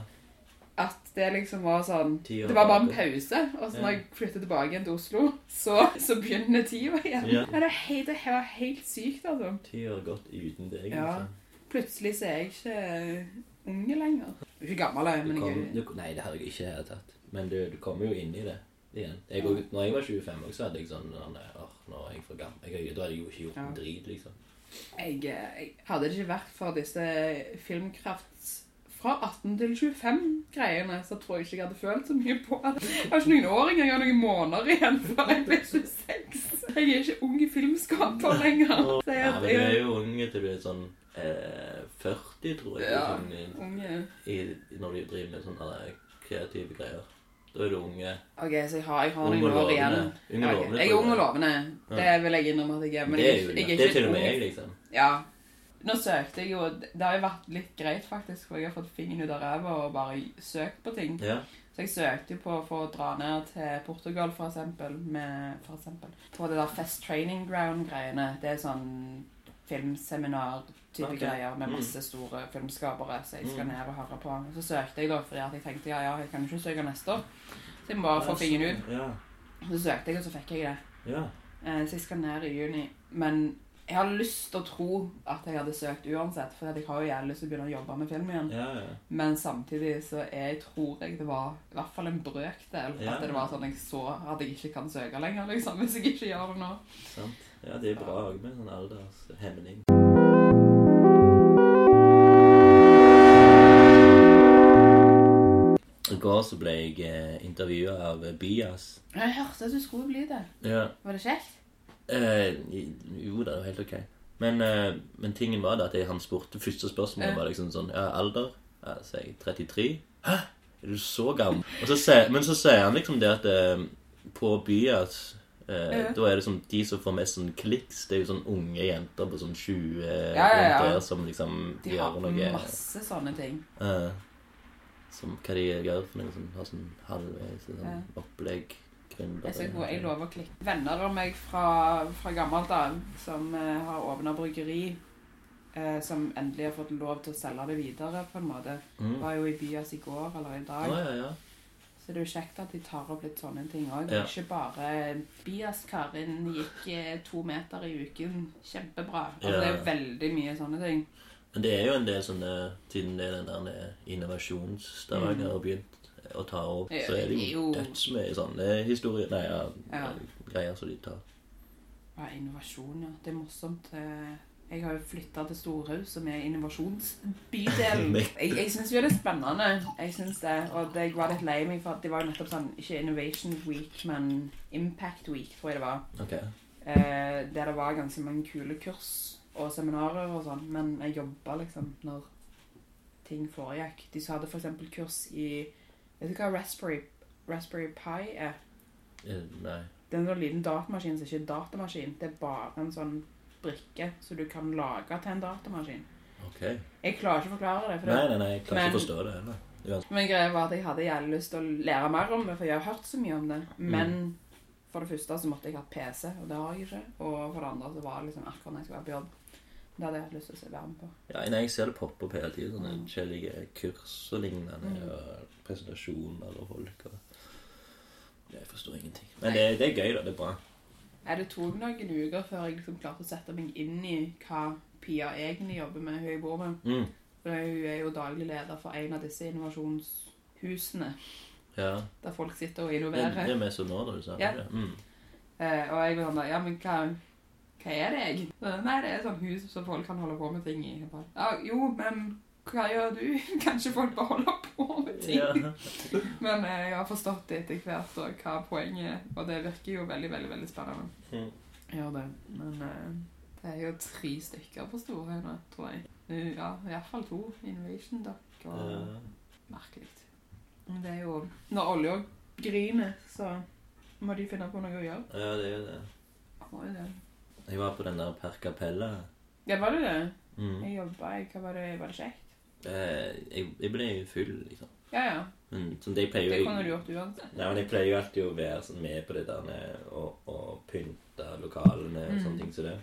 At det liksom var sånn
Ti år
Det var bare en
tilbake.
pause. Og så
Ja.
når jeg flytter tilbake igjen til Oslo, så, så begynner tida igjen.
Ja.
Nei, Det, er helt, det var helt sykt, altså.
Ti år gått uten deg,
Ja.
liksom.
Plutselig så er jeg ikke unge lenger. Jeg er Ikke gammel, jeg,
Du
men
kom,
jeg
du, nei, det hadde jeg ikke i det hele tatt. Men du, du kommer jo inn i det igjen. Jeg, og- når jeg var 25 også, så hadde jeg sånn sånn, Åh, nå er jeg for gammel. Jeg, har- da hadde jeg jo ikke gjort en
Ja.
drit, liksom.
Jeg, eh, jeg hadde det ikke vært for disse filmkrafts fra 18 til 25-greiene, så tror jeg ikke jeg hadde følt så mye på det. Jeg har ikke noen år engang, jeg har noen måneder igjen før jeg blir 26. Jeg er ikke ung filmskaper lenger.
Nei,
Så
men
jeg,
du er
jeg,
jo unge til du er sånn eh, 40, tror jeg.
Ja.
sånn i-
unge.
i, når du driver med sånne eh, kreative greier. Da er du unge.
Ok, så jeg har, jeg har
Unge
noen år igjen.
Unge
Ja, ok.
og
Jeg
lovende.
er
tror
ung og lovende. Det vil jeg innrømme at jeg er. Men
det
jeg,
er jo
jeg er
det er til
ikke
og med jeg,
ung.
liksom.
Ja. Nå søkte jeg jo Det har jo vært litt greit, faktisk, for jeg har fått fingeren ut av ræva og bare søkt på ting.
Ja.
Så jeg søkte jo på for å dra ned til Portugal, for eksempel, med, for eksempel. På det der Fest Training Ground-greiene. Det er sånn filmseminar-type
Ok.
greier med
Mm.
masse store filmskapere som jeg skal
Mm.
ned og høre på. Så søkte jeg da fordi at jeg tenkte ja, ja, jeg kan jo ikke søke neste år. Så jeg må bare få fingeren ut.
Ja.
Så søkte jeg, og så fikk jeg det.
ja.
Eh, Så jeg skal ned i juni. Men jeg har lyst til å tro at jeg hadde søkt uansett, for jeg har jo jævlig lyst til å begynne å jobbe med film igjen.
Ja, ja.
Men samtidig så jeg tror jeg det var i hvert fall en brøkdel
Ja.
at det var sånn jeg så at jeg ikke kan søke lenger, liksom, hvis jeg ikke gjør det nå.
Sant. Ja, det er bra òg med sånn aldershemning. går så ble jeg eh, intervjua av eh, Bias.
Jeg hørte at du skulle bli det.
Ja.
Var det kjekt?
Eh, jo da, det var helt ok. Men, eh, men tingen var det at jeg, han spurte første spørsmål
Ja.
var liksom sånn Ja, alder? Ja, så er jeg 33. Hæ? Er du så gammel? Og så sier- men så sier han liksom det at eh, på byen eh,
Ja.
Da er det sånn de som får mest sånn kliks, det er jo sånn unge jenter på sånn 20
Ja,
eh,
ja, ja.
rundt der som liksom
De har
gjør noe
masse sånne ting.
eh, Som hva de gjør for noe sånn, har sånn halvveis sånn, opplegg. gründere.
Jeg, skal gå, jeg lover å klikke. Venner av meg fra, fra gammelt av som eh, har åpna bryggeri, eh, som endelig har fått lov til å selge det videre, på en måte.
Mm.
Var jo i Byas i går eller i
Å,
dag.
ja, ja.
Så det er jo kjekt at de tar opp litt sånne ting òg.
Ja.
Ikke bare Bias Karin gikk eh, to meter i uken. Kjempebra. Altså,
Ja.
Det er veldig mye sånne ting.
Men det er jo en del sånne Siden det er den der nede innovasjonsstavanger har begynt å ta opp, så er det jo
Mm. Jo.
dødsmye sånne historier Nei, ja,
Ja.
greier som de tar.
Ja, innovasjon, ja. Det er morsomt. Eh, Jeg har jo flytta til Storhaug, som er innovasjonsbydelen.
Nei.
Jeg, jeg syns jo det er spennende. Jeg synes det. Og det, jeg var litt lei meg for at det var jo nettopp sånn Ikke Innovation Week, men Impact Week, tror jeg det var.
Ok.
Eh, der det var ganske mange kule kurs og seminarer og sånn. Men jeg jobba liksom når ting foregikk. De så hadde for eksempel kurs i Vet du hva Raspberry, Raspberry Pi er?
Eh, Nei.
Det er en sånn liten datamaskin som ikke er en datamaskin. Det er bare en sånn brikke som du kan lage til en datamaskin.
Ok.
Jeg klarer ikke å forklare det. For
Nei,
det.
nei, nei, jeg klarer
Men-
ikke å forstå det heller.
Men greia var at jeg hadde jævlig lyst til å lære mer om det, for jeg har hørt så mye om det. Men for det første så måtte jeg ha PC, og det har jeg ikke. Og for det andre så var det liksom akkurat når jeg skulle være på jobb. Det hadde jeg hatt lyst til å være med på.
Ja, nei, jeg ser det poppe opp hele tiden. Sånne
Mm.
forskjellige kurs og lignende. Og presentasjoner og folk og Jeg forstår ingenting. Men det, det er gøy, da. Det er bra.
Nei, det tok noen uker før jeg liksom klarte å sette meg inn i hva Pia egentlig jobber med, hun jeg bor med.
Mm.
For hun er jo daglig leder for en av disse innovasjonshusene,
Ja.
der folk sitter og
Det,
innoverer.
det er med som nå, da. Du sa
Ja.
det? Mm.
Eh, og jeg var sånn da, ja, men hva, hva er det egentlig? Så, Nei, det er sånn hus som folk kan holde på med ting i. Jeg bare, Ja, jo, men hva gjør du? Kanskje folk bare holder på med ting.
Ja.
Men eh, jeg har forstått det etter hvert og hva poenget er, og det virker jo veldig, veldig, veldig spennende.
Mm.
Jeg gjør det, men eh, det er jo tre stykker på Storhøy nå, tror jeg. Nu- Ja, i hvert fall to. Innovation Dock og
Ja.
merkelig. Men det er jo, når olje og griner, så må de finne på noe å gjøre.
ja, det er jo det.
Må jo det.
Jeg var på den der Per Capella.
Ja, var det det?
Mm.
Jeg jobba i Hva var det? Var det kjekt?
Eh, jeg, jeg ble full, liksom.
Ja, ja.
Men sånn, de pleier
Det
jo
kunne du
jeg,
gjort uansett.
Nei, men jeg pleier jo alltid å være sånn med på det der med å, å pynte lokalene og
Mm.
sånne ting som det.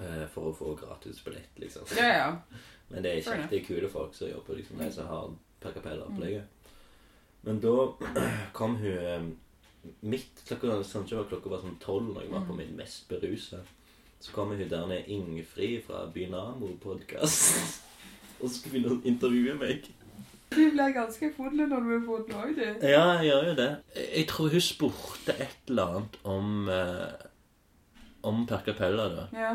Eh, for å få gratis billett, liksom.
Ja, ja.
Men det er
Fair
kjekt. Det er kule folk som jobber liksom, de som har Per Capella-opplegget. Men da kom hun eh, midt klokka, sånn, ikke var klokka var sånn tolv når jeg var på min mest berusa. Så kom hun der nede Ingefrid fra Bynamo-podkast og skulle begynne å intervjue meg.
Du blir ganske full når du er full òg, du.
Ja, jeg gjør jo det. Jeg jeg tror hun spurte et eller annet om eh, om Per Capella, da.
Ja.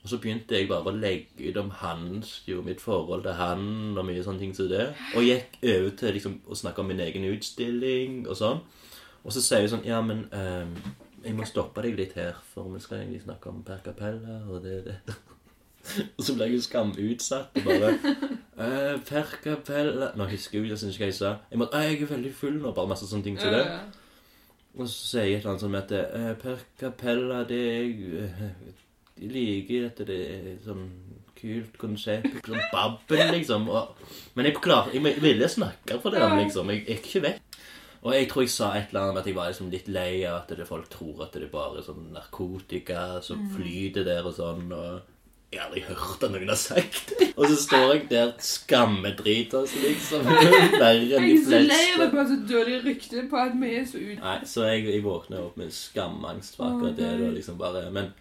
Og så begynte jeg bare å legge ut om hans, jo, mitt forhold til han, og mye sånne ting som det. Og gikk over til liksom, å snakke om min egen utstilling og sånn. Og så sier hun sånn Ja, men ehm, jeg må stoppe deg litt her, for vi skal egentlig snakke om Per Capella og det det. og så ble jeg jo skamutsatt og bare eh, Per Capella Nå husker jeg jo jeg synes ikke hva jeg sa. Jeg, måtte, «Nei, jeg er veldig full nå, bare masse sånne ting som det.
Ja,
Og så sier jeg et eller annet sånn med at eh, Per Capella, det jeg eh, liker at det er sånn kult konsept. Sånn babben, liksom. Og, men jeg, klar, jeg, jeg ville snakke for det, liksom. Jeg jeg er ikke vekk. Og jeg tror jeg sa et eller annet om at jeg var liksom litt lei av at det, folk tror at det er bare sånn narkotika som
Mm.
flyter der og sånn. og... Jeg har aldri hørt at noen har sagt det. Og så står jeg der skammedrita, altså, liksom. Verre enn
Jeg
de
er så lei av
fleste.
det på så dårlig rykte på at vi er så ut...
Nei, så jeg, jeg våkna opp med skamangst for akkurat det.
Å,
Da,
nei.
liksom bare, men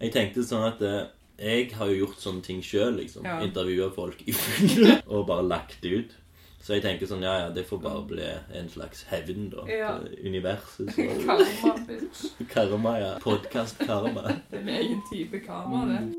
jeg tenkte sånn at eh, jeg har jo gjort sånne ting sjøl. Liksom,
Ja.
Intervjua folk i fyll og bare lagt det ut. Så jeg tenker sånn, ja ja, det får bare bli en slags hevn, da.
Ja.
til Universet. så-
Karma, bitch.
Karma, ja. Podkast-karma.
Det er en egen type karma, det.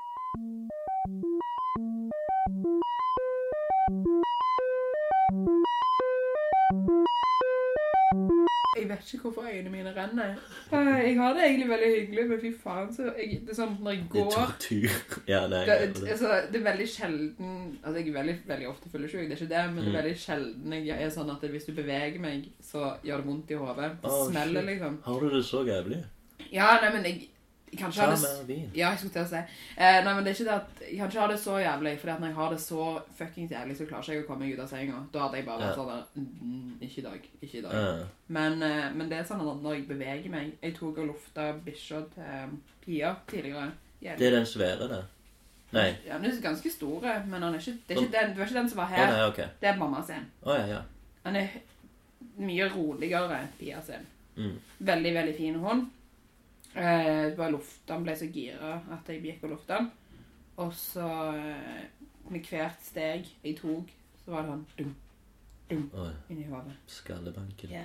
hvorfor øynene mine renner. Eh, Jeg har det egentlig veldig hyggelig, men fy faen, så jeg, det eh, er sånn når jeg
Det er
går
tortur. Ja, nei.
det,
jeg-
altså, det er veldig sjelden Altså, jeg er veldig, veldig ofte fyllesyk, det er ikke det, men
Mm.
det er veldig sjelden jeg er sånn at hvis du beveger meg, så gjør det vondt i hodet. Det
Å,
smeller,
shit.
liksom.
Har du det så jævlig?
Ja, nei, men jeg jeg kan ikke
Ta
ha det s-
mer vin.
Ja, jeg skulle til å si. Eh, nei, men det er ikke det at Jeg kan ikke ha det så jævlig, Fordi at når jeg har det så fuckings jævlig, så klarer ikke jeg å komme meg ut av senga. Da hadde jeg bare vært
Ja.
sånn der, mm, Ikke i dag. Ikke i dag.
Ja.
Men, eh, men det er sånn at når jeg beveger meg Jeg tok og lufta bikkja til eh, Pia tidligere. Jævlig.
Det er den svære, det. Nei.
Ja, men Den er ganske stor, men han er ikke, det, er ikke den, det var ikke den som var
Å,
her.
nei, ok.
Det er mamma sin.
Å, ja, ja.
Han er mye roligere enn Pia sin.
Mm.
Veldig, veldig fin hund. Eh, bare lufta, han ble så gira at jeg gikk og lufta han. Og så eh, med hvert steg jeg tok, så var det sånn dum
Å,
inni hodet.
skallebanken.
Yeah.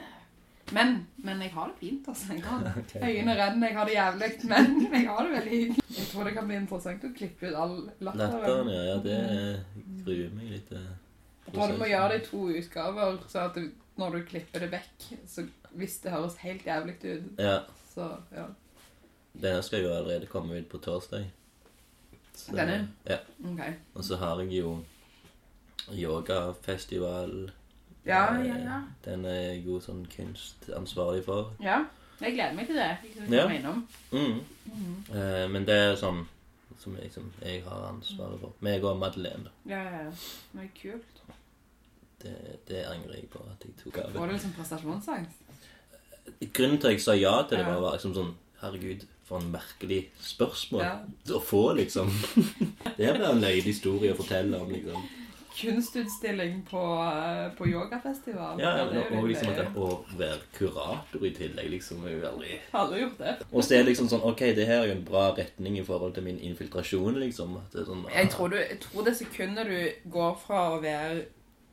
Men, men jeg har det fint, altså. Jeg har det.
Ok.
Øynene renner, jeg har det jævlig, men jeg har det veldig hyggelig. Jeg tror det kan bli interessant å klippe ut all
Latteren,
latteren.
ja. ja det eh, gruer meg litt. eh.
Jeg tror du må gjøre det i to utgaver, så at du, når du klipper det vekk, så hvis det høres helt jævlig ut,
Ja.
så ja.
Denne skal jo allerede komme ut på torsdag. Så-
Denne?
Ja.
Ok.
Og så har jeg jo yogafestival.
Ja,
Eh,
ja, ja.
Den er jeg jo sånn kunstansvarlig for.
Ja, jeg gleder meg til det. Jeg skal
Ja.
komme innom.
Mm.
Mhm.
Eh, men det er sånn som jeg, liksom, jeg har ansvaret for. Meg og Madeleine. da.
Ja, ja, ja. Men kult.
Det, det angrer jeg på at jeg tok av.
Får du liksom prestasjonsangst?
Grunnen til at jeg sa ja til det,
Ja.
var, var liksom sånn Herregud, for en merkelig spørsmål
Ja.
å få, liksom. det blir en løyelig historie å fortelle om, liksom.
Kunstutstilling på, eh, på yogafestival.
Ja, ja,
det er jo
og
litt
liksom
løye.
at det, å være kurator i tillegg, liksom, er jo veldig
Alle har gjort det.
Og så er det liksom sånn OK, det her er jo en bra retning i forhold til min infiltrasjon, liksom. At det er sånn,
Jeg tror, du, jeg tror det sekundet du går fra å være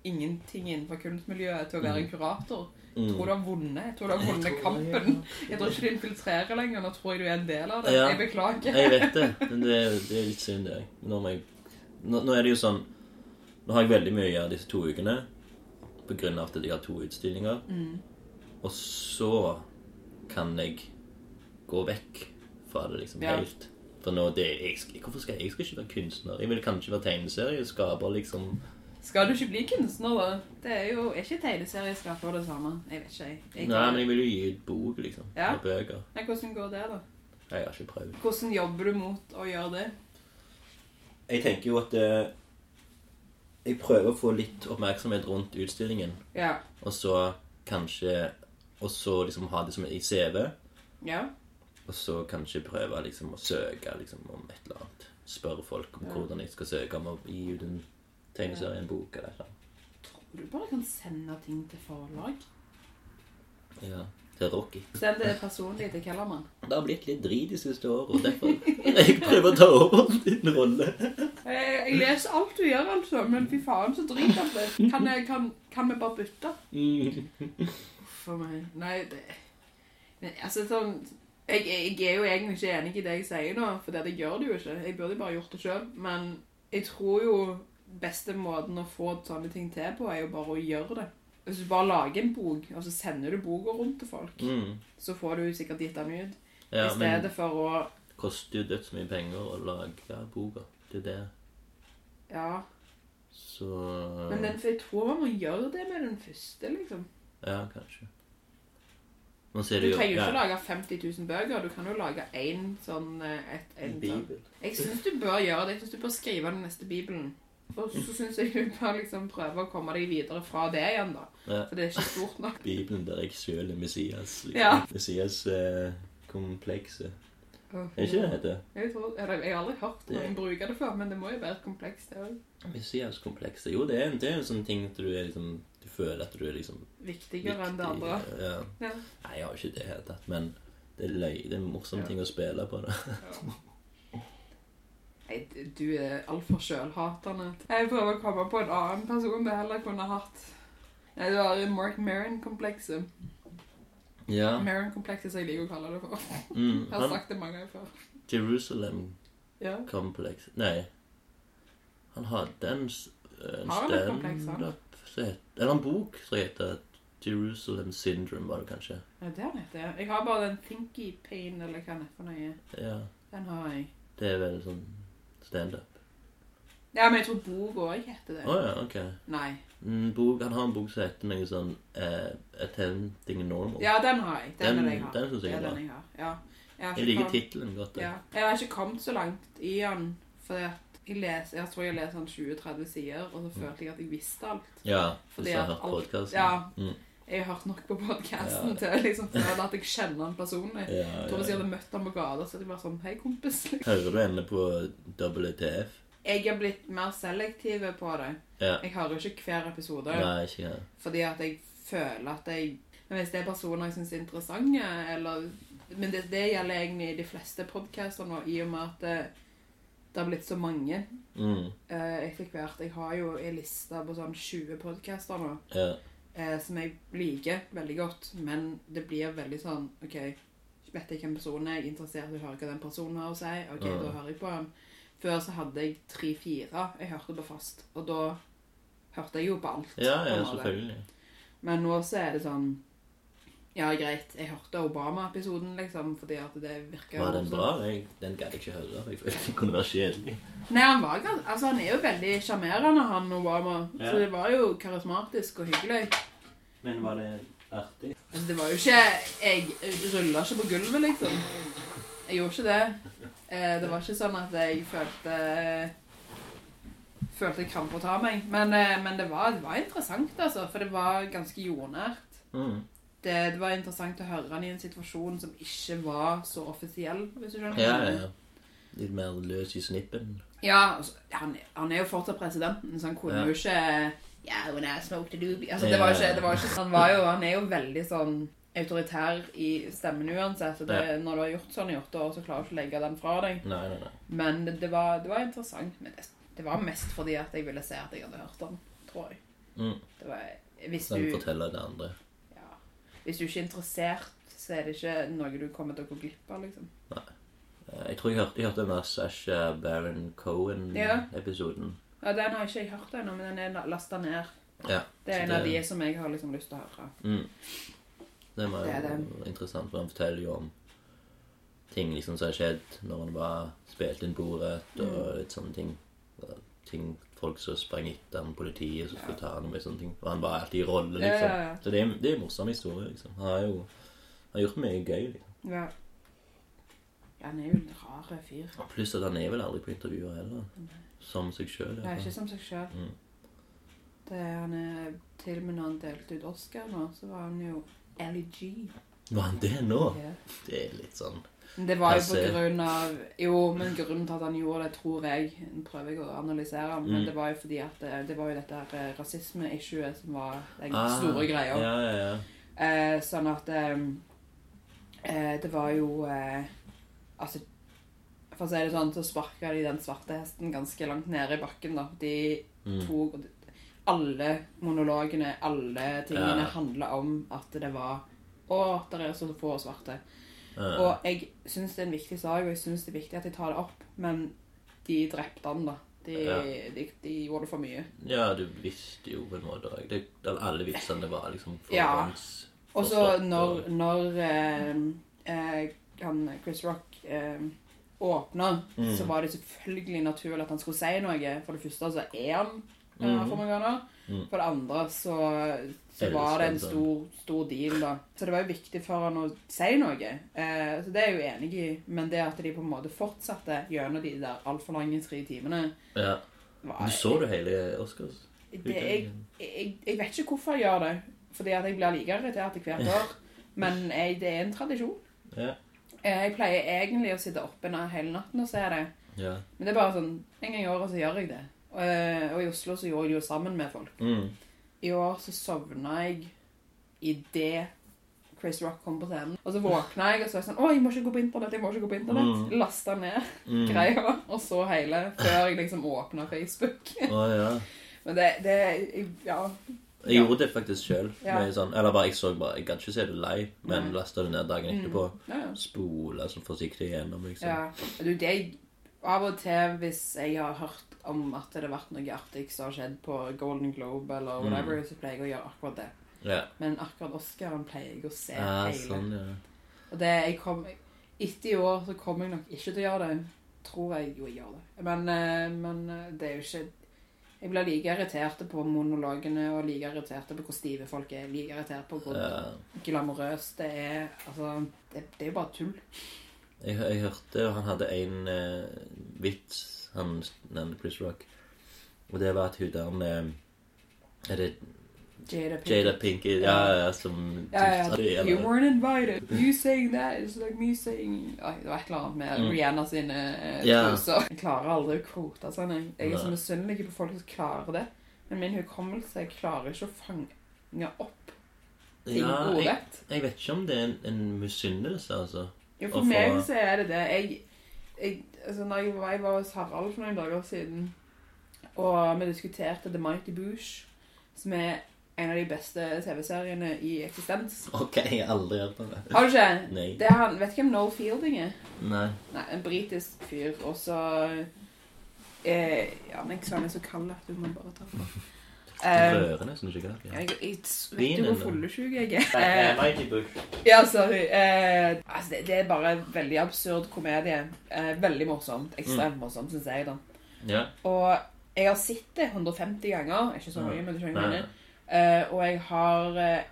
ingenting innenfor kunstmiljøet til å
Mm.
være en kurator, jeg tror du har vunnet. Jeg tror du har vunnet kampen. Jeg tror ikke du infiltrerer lenger. Nå tror jeg du er en del av det.
Ja.
Jeg beklager.
Jeg vet det, men det, det er litt synd, det. Nå, må jeg, nå, nå er det jo sånn Nå har jeg veldig mye å gjøre disse to ukene på grunn av at jeg har to utstillinger.
Mm.
Og så kan jeg gå vekk fra det liksom
Ja.
helt. For nå, det, jeg, skal- Hvorfor skal jeg, jeg skal ikke være kunstner? Jeg vil kanskje være tegneserieskaper, liksom.
Skal du ikke bli kunstner, da? Det er jo er ikke tegneserieskaper det samme. Jeg vet ikke, jeg. jeg
Nei, men jeg vil jo gi ut bok, liksom.
Ja.
Og bøker.
Nei, hvordan går det, da?
Jeg har ikke prøvd.
Hvordan jobber du mot å gjøre det?
Jeg tenker jo at eh, jeg prøver å få litt oppmerksomhet rundt utstillingen.
Ja.
Og så kanskje Og så liksom ha det som i CV.
Ja.
Og så kanskje prøve liksom å søke liksom om et eller annet. Spørre folk om
Ja.
hvordan jeg skal søke om å gi ut en tegneserie, en bok eller et eller annet.
Tror du bare kan sende ting til forlag?
Ja. Til Rocky.
Send det personlig til Kellermann.
Det har blitt litt drit de siste årene, og derfor jeg prøver å ta over din rolle.
Jeg, Eh, jeg leser alt du gjør, altså, men fy faen, så drit av det. Kan, jeg, kan, kan vi bare bytte?
Mm.
For meg. Nei, det men, Altså, sånn jeg, jeg jeg er jo egentlig ikke enig i det jeg sier nå, for det, det gjør det jo ikke. Jeg burde bare gjort det sjøl. Men jeg tror jo beste måten å få sånne ting til på, er jo bare å gjøre det. Hvis du bare lager en bok, og så sender du boka rundt til folk,
Mm.
så får du sikkert gitt den ut. I
Ja, men
stedet for å
det koster jo dødsmye penger å lage boka. Det er det.
Ja.
Så
Men den, for jeg tror man må gjøre det med den første, liksom.
Ja, kanskje. Nå ser
Du
det jo
trenger jo ikke
ja,
lage 50 000 bøker. Du kan jo lage én sånn eh, et, en
en
sånn.
bibel.
Jeg syns du bør gjøre det. Jeg syns du bør skrive den neste Bibelen. Og så syns jeg du bør liksom prøve å komme deg videre fra det igjen, da.
Ja.
For det er ikke stort nok.
Bibelen der jeg sjøl er Messias. Liksom.
Ja.
Messias-komplekset. er ikke det det heter?
Jeg, tror, eller, jeg har aldri hørt noen bruke det før, men det må jo være et kompleks, det òg.
Messias-komplekset. Jo, det er, en, det er en sånn ting at du er liksom Du føler at du er liksom
Viktigere enn det andre.
Ja.
Ja.
Nei, jeg har jo ikke det i det hele tatt, men det er, løy, det er en morsom
Ja.
ting å spille på. da.
Nei, d- du er altfor sjølhatende. Jeg prøver å komme på en annen person det heller kunne hatt. Nei, det var Mark Merrin-komplekset.
Ja.
Merrin-komplekset, som jeg liker å kalle det for.
Mm,
Jeg har
han,
sagt det mange ganger før.
Jerusalem-komplekset
Ja.
Nei. Han hadde en, s- eh, en
Har han et kompleks, han?
standup som het- Eller en bok som heter Jerusalem Syndrome var det kanskje.
Ja, det er det. heter. Jeg har bare den Thinky Pain, eller hva det er for noe.
Ja,
Den har jeg.
det er vel sånn standup.
Ja, men jeg tror boka òg heter det.
Å ja, ok.
Nei.
Mm, bok, han har en bok som heter noe sånn eh, Attending Normal.
Ja, den har jeg. Den,
Den-
er det jeg har.
den synes jeg
Det
er bra.
Den jeg har. Ja. Jeg, har
Jeg
ikke
liker
kommet-
tittelen godt. jeg.
Ja. Jeg har ikke kommet så langt i den, fordi at jeg, les, jeg tror jeg leser sånn 20-30 sider, og så
Mm.
følte jeg at jeg visste alt.
Ja,
Fordi
hvis du har
at
hørt
alt-
podkasten.
ja.
Mm.
Jeg har hørt nok på podcasten
Ja.
til å liksom føle at jeg kjenner han personlig.
Ja,
Jeg tror
ja,
hvis jeg
ja.
hadde møtt han på gata, så hadde jeg vært sånn Hei, kompis.
Hører du henne på WTF?
Jeg er blitt mer selektiv på det.
Ja.
Jeg hører jo ikke hver episode.
Nei, ikke jeg.
Fordi at jeg føler at jeg Men hvis det er personer jeg syns er interessante, eller Men det, det gjelder egentlig de fleste podcaster nå, i og med at det, det har blitt så mange
Mm,
eh, etter hvert. Jeg har jo en liste på sånn 20 podcaster nå
ja.
eh, som jeg liker veldig godt, men det blir veldig sånn OK, vet jeg hvem personen er, jeg er interessert i å høre hva den personen har å si, OK,
Mm.
da hører jeg på han. Før så hadde jeg tre-fire jeg hørte på fast, og da hørte jeg jo på alt.
ja,
på
ja,
en måte.
selvfølgelig.
Men nå så er det sånn Ja, greit, jeg hørte Obama-episoden, liksom, fordi at det virker
Var den bra? Jeg, den gadd jeg ikke høre. for Jeg følte den kunne være kjedelig.
Nei, han var gans- Altså, han er jo veldig sjarmerende, han Obama.
Ja.
Så det var jo karismatisk og hyggelig.
Men var det artig?
Altså, det var jo ikke Jeg rulla ikke på gulvet, liksom. Jeg gjorde ikke det. Eh, det var ikke sånn at jeg følte Følte jeg krampe å ta meg. Men, eh, men det, var, det var interessant, altså. For det var ganske jordnært.
Mm.
det, eh, det var interessant å høre han i en situasjon som ikke var så offisiell, hvis du skjønner.
Ja, ja, ja. Litt mer løs i snippen.
Ja, altså, han, han er jo fortsatt presidenten, så han kunne
Ja.
jo ikke Yeah, when I smoked a doobie. Altså,
Ja,
det var jo
ja,
ikke,
ja.
det var jo ikke sånn. han, var jo, han er jo veldig sånn autoritær i stemmen uansett. Så det,
Ja.
Når du har gjort sånn i åtte år, så klarer du ikke å legge den fra deg.
Nei, nei, nei.
Men det, det, var, det var interessant. Men det, det var mest fordi at jeg ville se at jeg hadde hørt den, tror jeg.
Mm.
Det var, hvis
Den
du
forteller det andre.
Ja. Hvis du ikke er interessert, så er det ikke noe du kommer til å gå glipp av, liksom.
Eh, Jeg tror jeg hørte, jeg hørte den der Sasha Baron
Ja.
Cohen-episoden.
Ja, den har ikke jeg hørt ennå, men den er lasta ned.
Ja,
Det er
så
en
det-
av de som jeg har liksom lyst til å høre.
Mm. Det var
Det er
jo interessant, for han forteller jo om ting liksom som har skjedd når han var spilt inn bordet
Mm.
og litt sånne ting. Og ting folk som sprang etter ham, politiet som skulle ta ham og sånne ting. Og han var alltid i rolle,
Ja,
liksom.
ja, ja.
Så det er, det er en morsom historie, liksom. Han har jo han har gjort mye gøy. liksom.
Ja. Ja, Han er jo en rar fyr.
Og Pluss at han er vel aldri på intervjuer heller. Som seg sjøl.
Han er ikke som seg sjøl.
Mm.
Han er til og med når han delte ut Oscar nå, så var han jo LG.
Var han det nå?
Ja.
Det er litt sånn
Men det var jo på
Passé.
grunn av Jo, men grunnen til at han gjorde det, tror jeg Nå prøver jeg å analysere han, men
Mm.
det var jo fordi at det, det var jo dette her eh, rasisme-issuet som var den
Ah,
store greia.
Ja, ja, ja.
Eh, sånn at ehm, eh, Det var jo eh, Altså For å si det sånn, så sparka de den svarte hesten ganske langt nede i bakken, da. De
Mm.
tok Alle monologene, alle tingene
Ja.
handla om at det var Å, der er så få svarte.
Ja.
Og jeg syns det er en viktig sak, og jeg syns det er viktig at de tar det opp, men de drepte han, da. De,
Ja.
de, de gjorde det for mye.
Ja, du visste jo på en måte òg. Det- det- Alle vitsene var liksom
Ja.
forhånds...
Og så
forstått,
når,
og-
når eh, eh, han Chris Rock eh, åpna,
Mm.
så var det selvfølgelig naturlig at han skulle si noe. For det første så er han eh,
Mhm.
afroamerikaner.
Mm.
For det andre så, så
Elsker
var det en
den.
stor, stor deal, da. Så det var jo viktig for han å si noe. Eh, så det er jeg jo enig i. Men det at de på en måte fortsatte gjennom de der altfor lange tre timene
Ja.
var
Du så du hele Oscars?
det, jeg, jeg, jeg vet ikke hvorfor jeg gjør det. Fordi at jeg blir like irritert hvert år. Men jeg, det er en tradisjon.
Ja.
Eh, Jeg pleier egentlig å sitte oppe na- hele natten og se det.
ja.
Men det er bare sånn En gang i året så gjør jeg det. Og, eh, og i Oslo så gjorde jeg det jo sammen med folk.
Mm.
I år så sovna jeg idet Chris Rock kom på scenen. Og så våkna jeg og så var jeg sånn Å, jeg må ikke gå på internett. jeg må ikke gå på internett.
Mm.
Lasta ned
Mm.
greia og så hele før jeg liksom åpna Facebook.
Å ja.
Men det, det jeg- Ja.
Jeg
Ja.
gjorde det faktisk sjøl.
Ja.
Sånn, eller bare, jeg så bare Jeg gadd ikke se det live, men
Nei.
lasta det ned dagen etterpå.
ja, ja.
Spola sånn forsiktig gjennom, liksom.
Ja. Du, det er av og til hvis jeg har hørt
Mm.
om at det har vært noe artig som har skjedd på Golden Globe eller whatever, så pleier jeg å gjøre akkurat det.
Ja.
Men akkurat Oscaren pleier jeg å se
Ah,
hele.
sånn, ja.
Og det jeg kom, etter i år så kommer jeg nok ikke til å gjøre det. Tror jeg jo jeg gjør det. Men, eh, men eh, det er jo ikke Jeg blir like irritert på monologene og like irritert på hvor stive folk er. Like irritert på hvor
ja.
glamorøst det er. Altså, det, det er jo bare tull.
Jeg, jeg hørte han hadde en eh, vits, han nevnte Chris Rock. Og det var at hun der eh, Er det
Jada Pinkett.
Jada Pinkett? Ja, ja, som
Ja,
som-
ja.
eller-
You weren't invited. You saying that is like me saying Oi, Det var et eller annet med
Mm.
Rihanna sine eh,
Ja.
truser. Jeg klarer aldri å kvote sånn. Jeg, jeg er så
Nei.
misunnelig på folk som klarer det. Men min hukommelse jeg klarer ikke å fange opp ting
ja, jeg,
ordrett.
jeg vet ikke om det er en, en misunnelse, altså.
Jo, for
og
meg
for-
så er det det. Jeg, jeg, altså, når jeg var, jeg var hos Harald for noen dager siden, og vi diskuterte The Mighty Boosh, som er en av de beste TV-seriene i eksistens.
OK, jeg har aldri hørt om det.
Har du ikke?
Nei.
Det er han, vet du hvem Noel Fielding er?
Nei.
Nei, en britisk fyr, og så eh, Ja, men ikke sånn er så kald at du må bare ta på. Eh,
Rørende, syns ikke det?
jeg, jeg, vet du
Vinen,
hvor
da.
fullesjuk jeg er? Eh,
Mighty Bush.
ja, sorry. Eh, altså, det, det er bare en veldig absurd komedie. Eh, veldig morsomt.
Mm.
Ekstremt morsomt, syns jeg, da.
Ja.
Og jeg har sett det 150 ganger. Ikke så mange, men du skjønner hva jeg
Nei.
mener. Eh, og jeg har eh,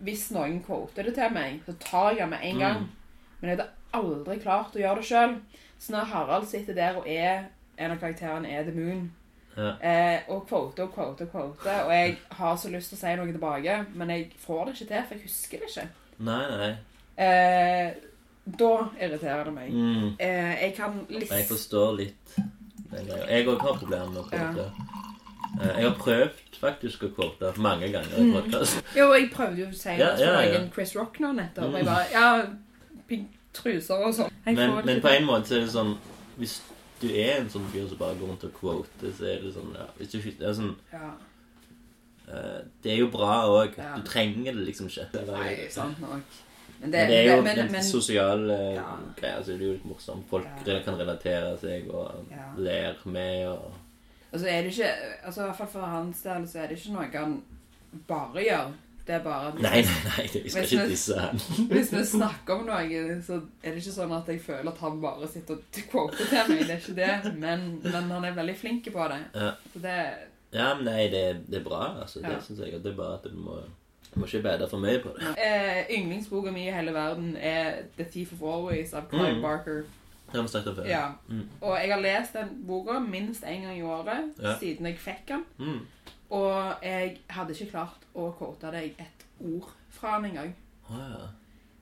Hvis noen quoter det til meg, så tar jeg det med en gang.
Mm.
Men jeg hadde aldri klart å gjøre det sjøl. Så når Harald sitter der og er en av karakterene er The Moon,
Ja.
eh, og quoter og quoter og quoter, og jeg har så lyst til å si noe tilbake, men jeg får det ikke til, for jeg husker det ikke,
Nei, nei.
eh, da irriterer det meg.
Mm.
Eh, jeg kan liste
Jeg forstår litt den greia. Jeg òg har problemer med å kvote. Eh, Jeg har prøvd faktisk å kvote mange ganger
Mm.
i podkast.
Jo, jeg prøvde jo å si
Ja,
det til
ja, ja. Mm.
egen Chris Rock nå nettopp. og Jeg bare Ja, pink truser og sånn. Jeg
Men,
får det
men
ikke
på
til.
en måte så er det sånn Hvis du er en sånn fyr som bare går rundt og kvoter, så er det sånn ja, hvis du, ikke- det, er sånn,
ja.
eh, det er jo bra òg.
Ja.
Du trenger det liksom ikke. Det er,
Nei, sant nok. Men det,
men det er jo
men,
en
men,
sosial eh,
Ja.
greie. Så det er jo litt morsomt. Folk
Ja.
kan relatere seg og
Ja.
ler med og
Altså er det ikke altså, I hvert fall for hans del så er det ikke noe han bare gjør. Det er bare at
Nei, nei, nei, vi skal
Hvis
ikke
vi-
disse han.
hvis vi snakker om noe, så er det ikke sånn at jeg føler at han bare sitter og quoter til meg. Det er ikke det. Men, men han er veldig flink på det.
Ja.
Så det
Ja, men nei, det, det er bra, altså.
Ja.
Det synes jeg. Det er bare at du må, du må ikke bede for mye på det.
eh, Yndlingsboka mi i hele verden er 'The Thief of Always' av Clive
Mm.
Barker.
Det har vi snakket om før.
Ja.
Mm.
Og jeg har lest den boka minst én gang i året
Ja.
siden jeg fikk den.
Mm.
Og jeg hadde ikke klart å quote deg et ord fra den engang.
Å, ja.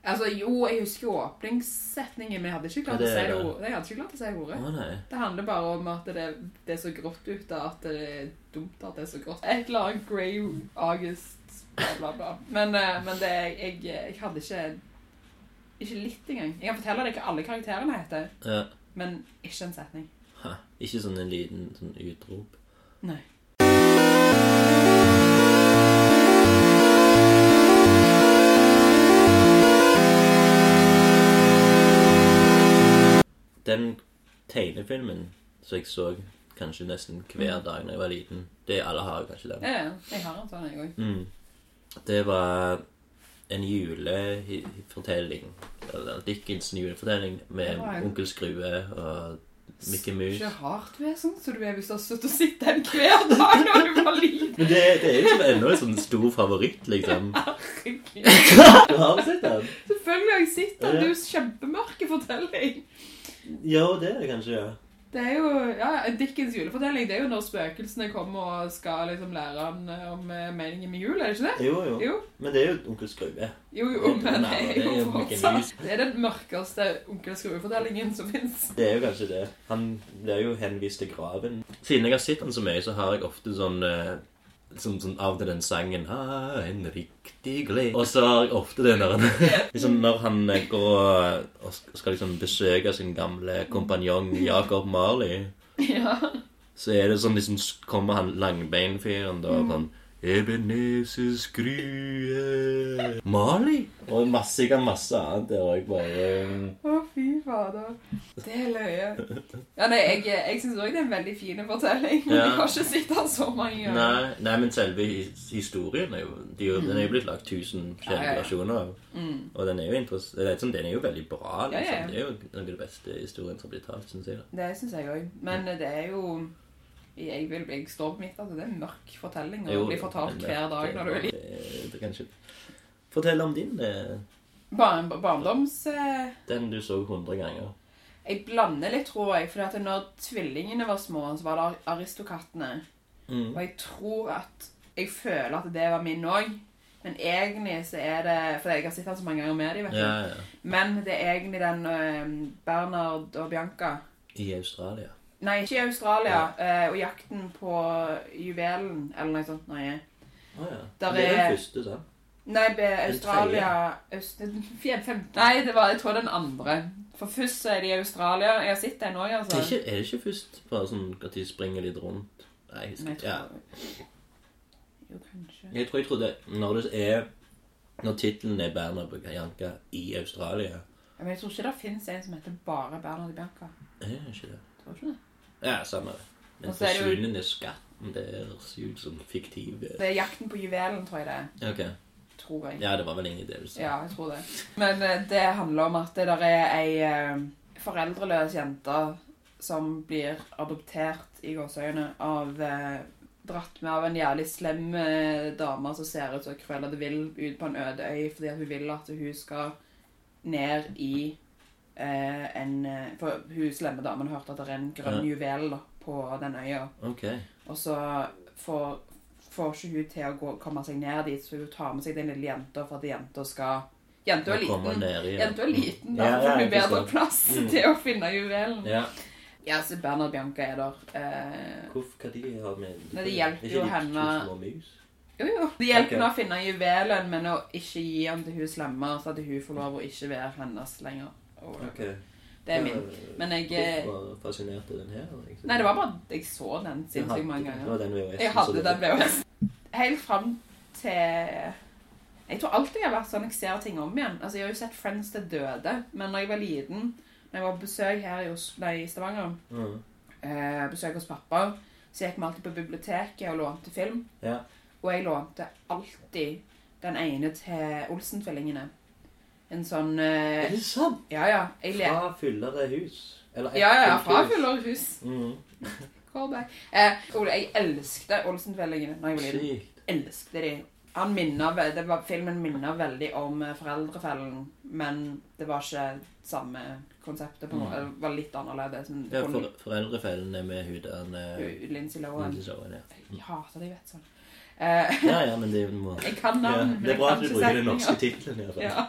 Altså, jo, jeg husker jo åpningssetningen, men jeg hadde ikke klart,
Ja, det
å, si
er
det
det.
ord- jeg hadde ikke klart å si ordet.
Å, nei.
Det handler bare om at det, det er så grått ute at det er dumt at det er så grått. Et eller annet grey august, bla, bla, bla. Men, eh, men det, jeg, jeg hadde ikke Ikke litt engang. Jeg kan fortelle deg hva alle karakterene heter,
Ja.
men ikke en setning.
Ha. Ikke sånn en liten sånn utrop.
Nei.
Den tegnefilmen som jeg så kanskje nesten hver dag da jeg var liten Det Alle har jo kanskje den.
Mm. Ja, ja, jeg har en sånn en gang.
Mm. Det var en julefortelling. Eller Dickens' julefortelling med
Det var en-
Onkel Skrue og Mickey Mouse.
Ikke rart du er sånn som du er hvis du har sittet og sittet her hver dag når du var liten.
Men det, det er liksom ennå en sånn stor favoritt, liksom.
Herregud.
Du har sett den?
Selvfølgelig har jeg sett den. Det er
Ja.
jo kjempemørke fortelling.
Ja, det er det kanskje, ja.
Det er jo ja, en Dickens julefortelling. Det er jo når spøkelsene kommer og skal liksom lære han om eh, meningen med jul, er det ikke det?
Jo, jo.
Jo,
Men det er jo Onkel Skrue.
jo, jo men det
Nei,
er jo
Mickey
fortsatt
Mouse.
Det er den mørkeste Onkel Skrue-fortellingen som fins.
Det er jo kanskje det. Han blir jo henvist til graven. Siden jeg har sett han så mye, så har jeg ofte sånn eh, Liksom sånn av til den sangen ah, En riktig gled Og så har jeg ofte det når han liksom Når han eh, går og sk- skal liksom besøke sin gamle kompanjong Jacob Marley
Ja.
Så er det sånn liksom s- Kommer han langbeinfyren da og sånn Ebenezer Skrue Mali? Og masse, jeg kan masse annet der òg, bare um,
Å, fy fader. Det er løye. Ja, nei, jeg, jeg syns òg det er en veldig fin fortelling, men
Ja.
jeg har ikke sett den så mange ganger.
Nei, nei, men selve his- historien er jo, de, er jo- Den er jo blitt lagt tusen
Mm. Ja, ja,
forskjellige
ja.
versjoner av.
Mm,
Og den er jo interess- eller, liksom, den er jo veldig bra.
Ja,
Liksom.
ja, ja.
Det er jo noe av det beste historien som blir talt, syns jeg. da.
Det syns jeg òg. Men eh, det er jo jeg, vil, jeg står på mitt at det er en mørk fortelling
Jo,
og blir fortalt
men
hver
det-
dag når du er liten.
det- det kan ikke- Fortell om din. eh,
Barn, barndoms... Eh,
Den du så 100 ganger.
Jeg blander litt, tror jeg. For at når tvillingene var små, så var det Aristokattene.
Mm.
Og jeg tror at Jeg føler at det var min òg. Men egentlig så er det For jeg har sett den så mange ganger med dem, vet du.
Ja, ja.
Men det er egentlig den øhm, Bernard og Bianca
I Australia.
Nei, ikke i Australia. øh, og jakten på juvelen, eller noe sånt. Nei,
Å ja.
Der
det er
er-
den første, sant?
nei be,
Den
Australia Øst, fjerde, femte. Nei, det var, jeg tror den andre. For først så er det i Australia. Jeg har sett den òg,
Det
altså.
er, ikke, er det ikke først bare sånn at de springer litt rundt? Nei, jeg,
Nei,
husker-
jeg
ja.
tror... Jo, kanskje.
jeg tror jeg trodde Når det er Når tittelen er Bernhard Bukayanka i Australia
Ja, Men jeg tror ikke det finnes en som heter bare Bernhard og Bianca.
Er det ikke det?
Tror ikke det.
Ja, samme det. Den
Og så er det jo-
forsvunne skatten Det høres ut som fiktiv
Det er Jakten på juvelen, tror jeg det er.
Ok.
Tror jeg.
Ja, det var vel egentlig det du sa.
Ja, jeg tror det. Men eh, det handler om at det der er ei eh, foreldreløs jente som blir adoptert i gåseøyne av eh, Dratt med av en jævlig slem eh, dame som ser ut som Cruella de Vil ut på en øde øy fordi at hun vil at hun skal ned i eh, en eh, For hun slemme damen har hørt at det er en grønn juvel da, på den øya.
Ok.
Og så får, får ikke hun til å gå, komme seg ned dit, så hun tar med seg den lille jenta for at jenta skal Jenta
Da
er
kommer
liten.
ned i
Jenta er liten, da
Ja,
får
ja,
hun
jeg
bedre
forstår.
plass
Mm.
til å finne juvelen.
Ja.
Ja, så Bernhard Bianca er der. Eh,
Hvorfor hva de har med
Nei, det hjelper jo
Er ikke de
henne-
to små mus?
jo, jo. Det hjelper
Ok.
henne å finne juvelen, men å ikke gi den til hun slemme, så at hun får lov å ikke være hennes lenger. Og-
Ok.
Det er min. Men jeg eh,
Hvorfor fascinerte den her? Liksom?
Nei, det var bare at jeg så den sinnssykt mange
Det
ganger.
var den VHS-en.
Jeg hadde den VHS. Helt fram til Jeg tror alltid jeg har vært sånn jeg ser ting om igjen. Altså, Jeg har jo sett Friends til døde, men når jeg var liten, når jeg var på besøk her i, Os- nei, i Stavanger,
Mm.
eh, besøk hos pappa, så gikk vi alltid på biblioteket og lånte film.
Ja.
Og jeg lånte alltid den ene til Olsen-tvillingene. En sånn
Er
eh,
det sant?
Ja, ja. Jeg le
Fra fyllere hus. Eller et
ja, ja,
fullt
fra
hus.
Fullerhus.
Mm.
Callback. Eh, Ole, jeg elsket Olsen-tvillingene da jeg var liten.
Sykt.
elsket de. Han minner, ve- det var, filmen minner veldig om eh, Foreldrefellen, men det var ikke samme konseptet. på noe,
Mm.
Det var litt annerledes. Men
Ja,
hun-
for, Mm. foreldrefellen er med eh, huden.
hun- Lindsay Lohan.
Ja.
Jeg hater det, jeg vet sånn. Eh,
ja, ja, men det må...
jeg kan
Ja,
navn, men
det er
jeg
bra
kan
at du
ikke
bruker den
setninger.
norske titlen i hvert fall.
Ja,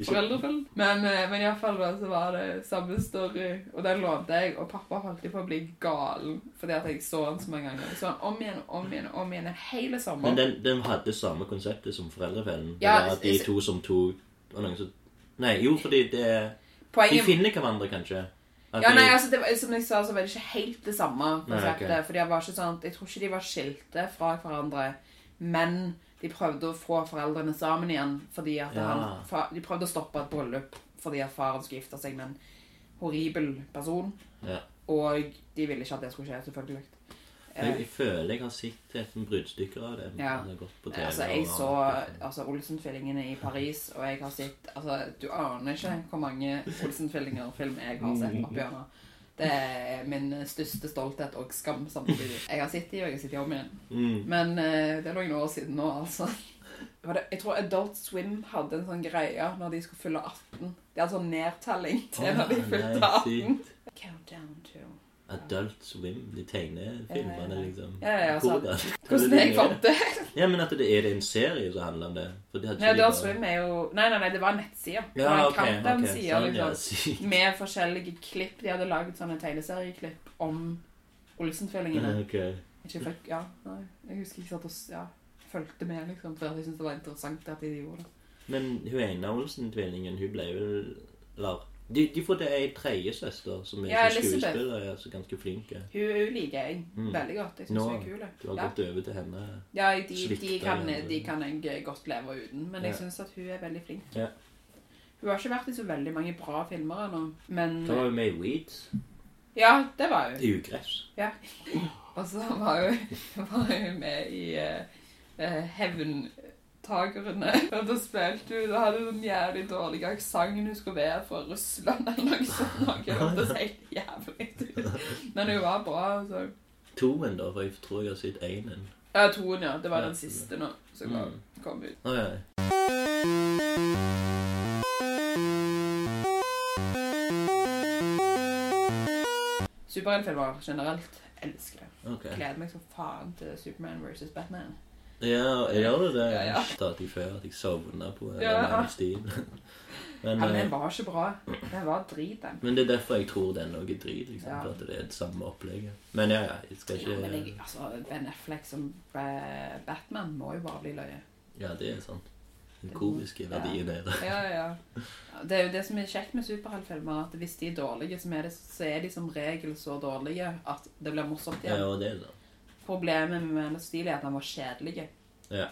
Ikke-
Foreldrefellen. Men, eh, men iallfall så var det samme story, og den lånte jeg. Og pappa holdt på å bli gal fordi at jeg så den så mange ganger. Så han om igjen om igjen om igjen en hel sommer.
Men den, den hadde samme konseptet som Foreldrefellen. Det
Ja,
var at de
jeg-
to som tok var noen som... Nei, jo, fordi det De
Poenget
finner hverandre, kanskje. At
Ja,
de-
nei, altså, det var, som jeg sa, så var det ikke helt det samme konseptet.
Nei,
fordi det var ikke sånn, at- Jeg tror ikke de var skilte fra hverandre, men de prøvde å få foreldrene sammen igjen. fordi at
Ja.
han, fa, De prøvde å stoppe et bryllup fordi at faren skulle gifte seg med en horribel person.
Ja.
Og de ville ikke at det skulle skje, selvfølgelig.
jeg,
Eh,
jeg føler jeg har sett et bruddstykker av det.
Ja.
Det har gått på TV.
altså, jeg
og-
så altså, Olsen-tvillingene i Paris, og jeg har sett altså, Du aner ikke hvor mange Olsen-tvillinger-film jeg har sett opp gjennom. Det er min største stolthet og skam samtidig. Jeg har sett de, og jeg har sett de om igjen.
Mm.
Men eh, det er noen år siden nå, altså. Det var det, jeg tror Adult Swim hadde en sånn greie når de skulle fylle 18. De hadde sånn nedtelling til når de fylte
Nei,
18.
sykt.
Countdown to
Adult Swim. De tegner
Ja,
filmene,
ja, ja.
liksom.
Ja, ja, ja, sant.
Hvordan?
Hvordan jeg fant det?
Ja, men at det er det en serie som handler om det? For det hadde
Nei,
ikke de
Adult
bare-
Swim er jo Nei, nei, nei, det var en nettside. Det var
Ja,
en
ok. ok.
countdown-side,
Sånn, ja,
liksom.
sykt.
med forskjellige klipp. De hadde laget sånne tegneserieklipp om Olsen-tvillingene.
Ok.
Ikke fikk, ja, nei, jeg husker ikke at jeg ja, fulgte med, liksom, for jeg syntes det var interessant at de gjorde det.
Men hun ene Olsen-tvillingen, hun ble vel Eller De, de får det ei tredjesøster som er
Ja,
sånn
Elizabeth.
skuespiller ja, så ganske flink. ja.
Hun, hun liker jeg
Mm.
veldig godt. Jeg syns
Nå,
hun er kul.
Du har
Ja.
gått over til henne.
Ja, de, de,
Svikter,
kan,
eller-
de kan jeg godt leve uten, men jeg
Ja.
syns at hun er veldig flink.
Ja.
Hun har ikke vært i så veldig mange bra filmer ennå, men
Da var hun med i Weeds.
Ja, det var hun.
I Ugress.
Og så var hun, var hun med i eh, eh, Hevntagerne. Og da spilte hun Da hadde hun en jævlig dårlig aksent. Hun skulle være fra Russland eller noe sånt. Noe. Det ser helt jævlig ut. Men hun var bra. altså.
Toen, da, for jeg tror jeg har sett énen.
Ja, toen, ja. Det var den siste nå som kom-
Mm.
kom ut.
Å ja.
Superheltfilmer generelt elsker det.
Ok.
Gleder meg som faen til Superman versus Batman.
Ja, jeg gjør du det?
Ja, ja.
Stadig før at jeg sovna på en
Ja.
eller annen stil. Men,
Ja, men
eh,
den var ikke bra. Den var drit, den.
men det er derfor jeg tror den òg er drit. Liksom,
Ja.
for At det er det samme opplegget. Men ja, ja. Jeg skal
Ja, men jeg,
ikke
altså, Ben Affleck som eh, Batman må jo bare bli løye.
Ja, det er sant. Den komiske verdien er der.
Ja, ja. Det er jo det som er kjekt med superheltfilmer, at hvis de er dårlige, så er, det, så er de som regel så dårlige at det blir morsomt
Ja,
igjen.
og det er det.
Problemet med Man of Steel er at han var kjedelig.
Ja.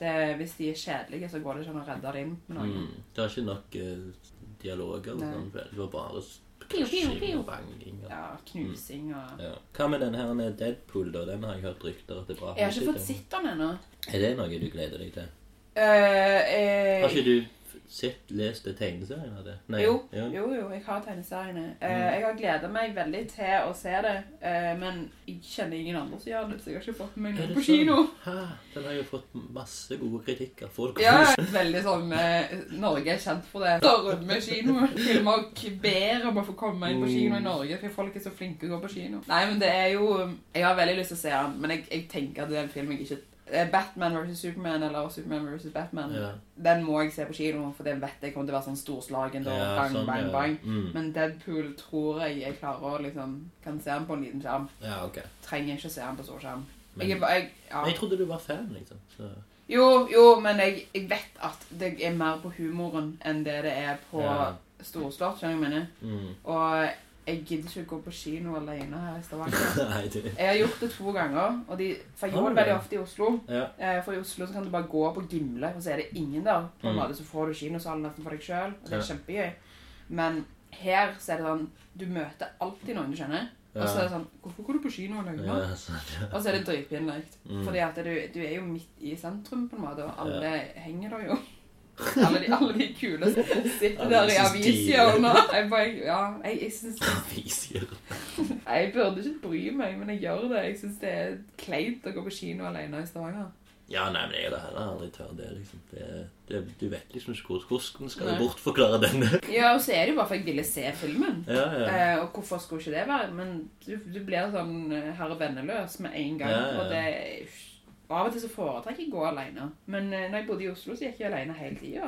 Det, hvis de er kjedelige, så går det ikke an å redde dem med noe.
Mm. Det var ikke nok eh, dialoger. og
Nei.
sånn, vel. Det var bare
Piu, piu,
krasjing
piu.
og banging. og-
Ja, knusing og
Ja. Hva med den her med Deadpool, da? Den har jeg hørt rykter at det er bra.
Jeg har ikke
musikk
fått
til.
sett den ennå.
Er det noe du gleder deg til?
Eh,
Har
eh,
ikke du f- sett, lest tegneserien av det? Nei.
jo,
Ja.
jo, jo, jeg har tegneseriene.
Mm.
Eh, jeg har gleda meg veldig til å se det, eh, men jeg kjenner ingen andre som gjør det, så jeg har ikke fått med meg noe
Er det
på kino.
sånn? Hæ? Den har jo fått masse gode kritikker. Folk
Ja, veldig sånn eh, Norge er kjent for det. Storme kino. Filmer k- ber om å få komme
Mm.
inn på kino i Norge, for folk er så flinke til å gå på kino. Nei, men det er jo Jeg har veldig lyst til å se den, men jeg, jeg tenker at det er en film jeg ikke eh, Batman vs. Superman eller Superman vs. Batman.
Ja.
Den må jeg se på kino, for den vet jeg kommer til å være sånn storslagen. Da,
Ja,
bang,
sånn,
bang,
ja.
bang.
Mm.
Men Deadpool tror jeg jeg klarer å liksom Kan se den på en liten skjerm.
Ja, ok.
Trenger ikke se den på stor skjerm.
Men,
Jeg, er ba- jeg, ja.
men jeg trodde du var fan, liksom. Så.
Jo, jo, men jeg, jeg vet at det er mer på humoren enn det det er på
Ja.
storslått, skjønner du hva jeg mener.
Mm.
Og jeg gidder ikke gå på kino alene her i Stavanger.
Nei, du.
Jeg har gjort det to ganger, og de, for jeg
Har
gjorde
du
det veldig
det?
ofte i Oslo.
Ja.
Eh, For i Oslo så kan du bare gå på Gimle, og så er det ingen der. På en
Mm.
måte så får du kinosalen nesten for deg sjøl, og det er
Ja.
kjempegøy. Men her så er det sånn Du møter alltid noen du kjenner. Og så er det sånn 'Hvorfor går du på kino alene?'
ja. sant, ja.
Og så er det dritpinlig.
Mm.
Fordi at du, du er jo midt i sentrum, på en måte, og alle henger der jo.
Ja.
Alle de, alle de kule som sitter
Alle
der i
synes de-
avishjørnet. Jeg bare Ja, jeg, jeg syns
Viser.
Jeg burde ikke bry meg, men jeg gjør det. Jeg syns det er kleint å gå på kino alene i Stavanger.
Ja, nei, men jeg hadde heller aldri tør det, liksom. Det, det, du vet liksom ikke hvor- hvordan skal
Nei.
du bortforklare denne.
Ja, og så er det jo bare for jeg ville se filmen.
Ja, ja.
Eh, og hvorfor skulle ikke det være? Men du, du blir sånn eh, herre venneløs med en gang.
Ja, ja, ja.
Og det, og av og til så foretrekker jeg å gå alene. Men eh, når jeg bodde i Oslo, så gikk jeg alene hele tida.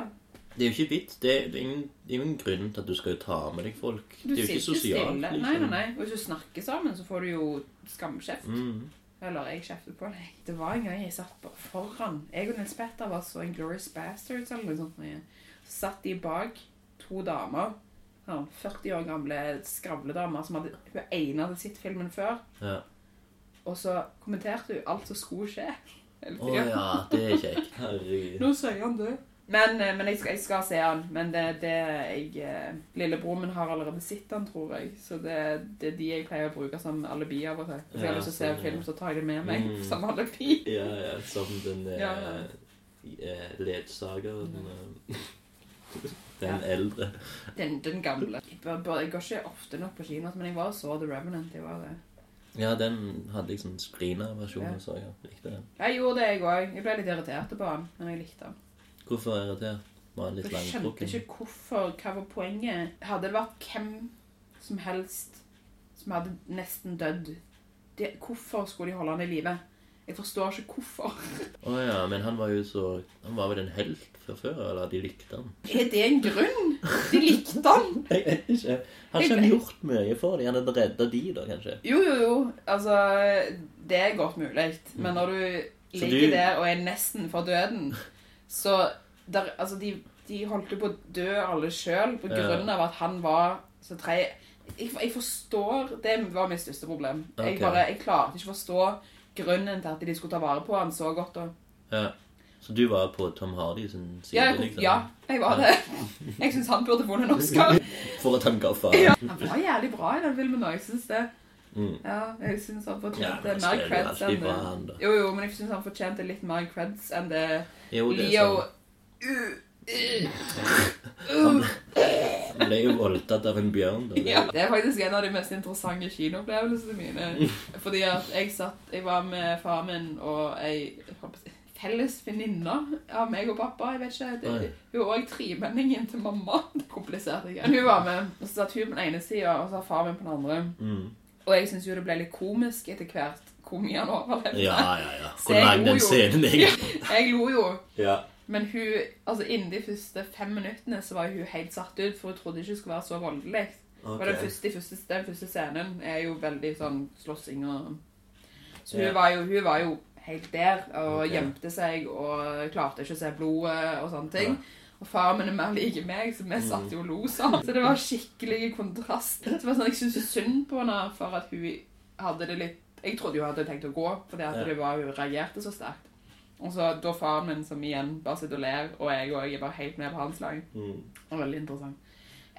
Det er jo ikke vits. Det er det er ingen, det er jo ingen grunn til at du skal jo ta med deg folk.
Du
det er jo ikke sosialt. liksom.
Nei, nei, nei. Og hvis du snakker sammen, så får du jo skamkjeft.
Mm.
Eller jeg kjeftet på deg. Det var en gang jeg satt på foran. Jeg og Nils Petter var så en Glorious Bastards eller noe sånt. noe. Så satt de bak to damer. Sånn 40 år gamle skravledamer som hadde, hun ene hadde sett filmen før.
Ja.
Og så kommenterte hun alt som skulle skje. hele
Å
tiden.
ja, det er kjekt. Herregud.
Nå sier han det. Men, eh, men jeg, skal, jeg skal se han. Men det, det jeg eh, Lillebroren min har allerede sett han, tror jeg. Så det, det er de jeg pleier å bruke som alibi av og til. Hvis jeg har
Ja,
lyst til å se
sånn,
en
ja.
film, så tar jeg det med meg
Mm.
som alibi.
Ja, ja, som den eh,
Ja, ja.
eh, ledsageren eh, Den
Ja.
eldre.
Den, den gamle. Jeg, bør- bør- jeg går ikke ofte nok på kino, men jeg var og så The Revenant. Jeg var det.
Ja, den hadde jeg sånn screener-versjon
Ja.
av, så jeg likte den.
Jeg gjorde det, jeg òg. Jeg ble litt irritert på han, men jeg likte han.
Hvorfor irritert? Var han litt
Jeg skjønte
langtrukken?
ikke hvorfor, hva var poenget. Hadde det vært hvem som helst som hadde nesten dødd, det, hvorfor skulle de holde han i live? Jeg forstår ikke hvorfor.
Å ja, men han var jo så Han var vel en helt fra før, eller de likte han?
Er det en grunn? De likte han!
Jeg vet ikke. Har ikke han gjort mye for dem? Han hadde redda de, da, kanskje?
Jo, jo, jo. Altså, det er godt mulig. Men når du
Så
ligger
du-
der og er nesten for døden, så der, Altså, de, de holdt jo på å dø alle sjøl på
Ja.
grunn av at han var så treig. Jeg, jeg forstår Det var mitt største problem. Jeg,
Ok.
bare, jeg klarte ikke å forstå grunnen til at de skulle ta vare på han så godt. Og,
Ja. Så du var på Tom Hardy sin side,
ja, jeg,
liksom?
ja, jeg var det. Jeg syns han burde vunnet en Oscar.
For at han ga faen?
Ja, han var jævlig bra i den filmen òg, jeg syns det.
Mm.
Ja, jeg synes han
Ja,
fortjente
men han
mer
spiller jo
creds
alltid
enn
bra, han, da.
det. Jo, jo, men jeg syns han fortjente litt mer creds enn det
Jo, det er
Leo
sånn. Han ble jo voldtatt av en bjørn, da.
Ja. Det er faktisk en av de mest interessante kinoopplevelsene mine. Fordi at jeg satt Jeg var med far min og ei jeg holdt på å si, felles venninne av meg og pappa. Jeg vet ikke, det,
Oi.
Hun var òg tremenningen til mamma. Det er Komplisert. ikke? Hun var med. Og så satt hun på den ene sida, og så har far min på den andre.
Mm.
Og jeg syns jo det ble litt komisk etter hvert hvor mye han overlevde.
Ja, ja, ja.
Så
Hvor
jeg
lang
lo
den
jo.
scenen er.
Jeg lo jo.
Ja.
Men hun, altså innen de første fem minuttene så var hun helt satt ut, for hun trodde ikke det skulle være så voldelig. Og den
Ok.
første, de første, den første scenen er jo veldig sånn slåssing og Så hun,
Ja.
var jo, hun var jo helt der og
Ok.
gjemte seg og klarte ikke å se blodet og sånne ting. Og faren min er mer lik meg, så vi
Mm.
satt jo og lo sammen. Så det var skikkelig kontrast. Det var sånn, Jeg syntes så synd på henne for at hun hadde det litt Jeg trodde hun hadde tenkt å gå, fordi at
Ja.
det var, hun reagerte så sterkt. Og så da faren min, som igjen bare sitter og ler, og jeg òg, er bare helt med på hans lag.
Mm.
Det var veldig interessant.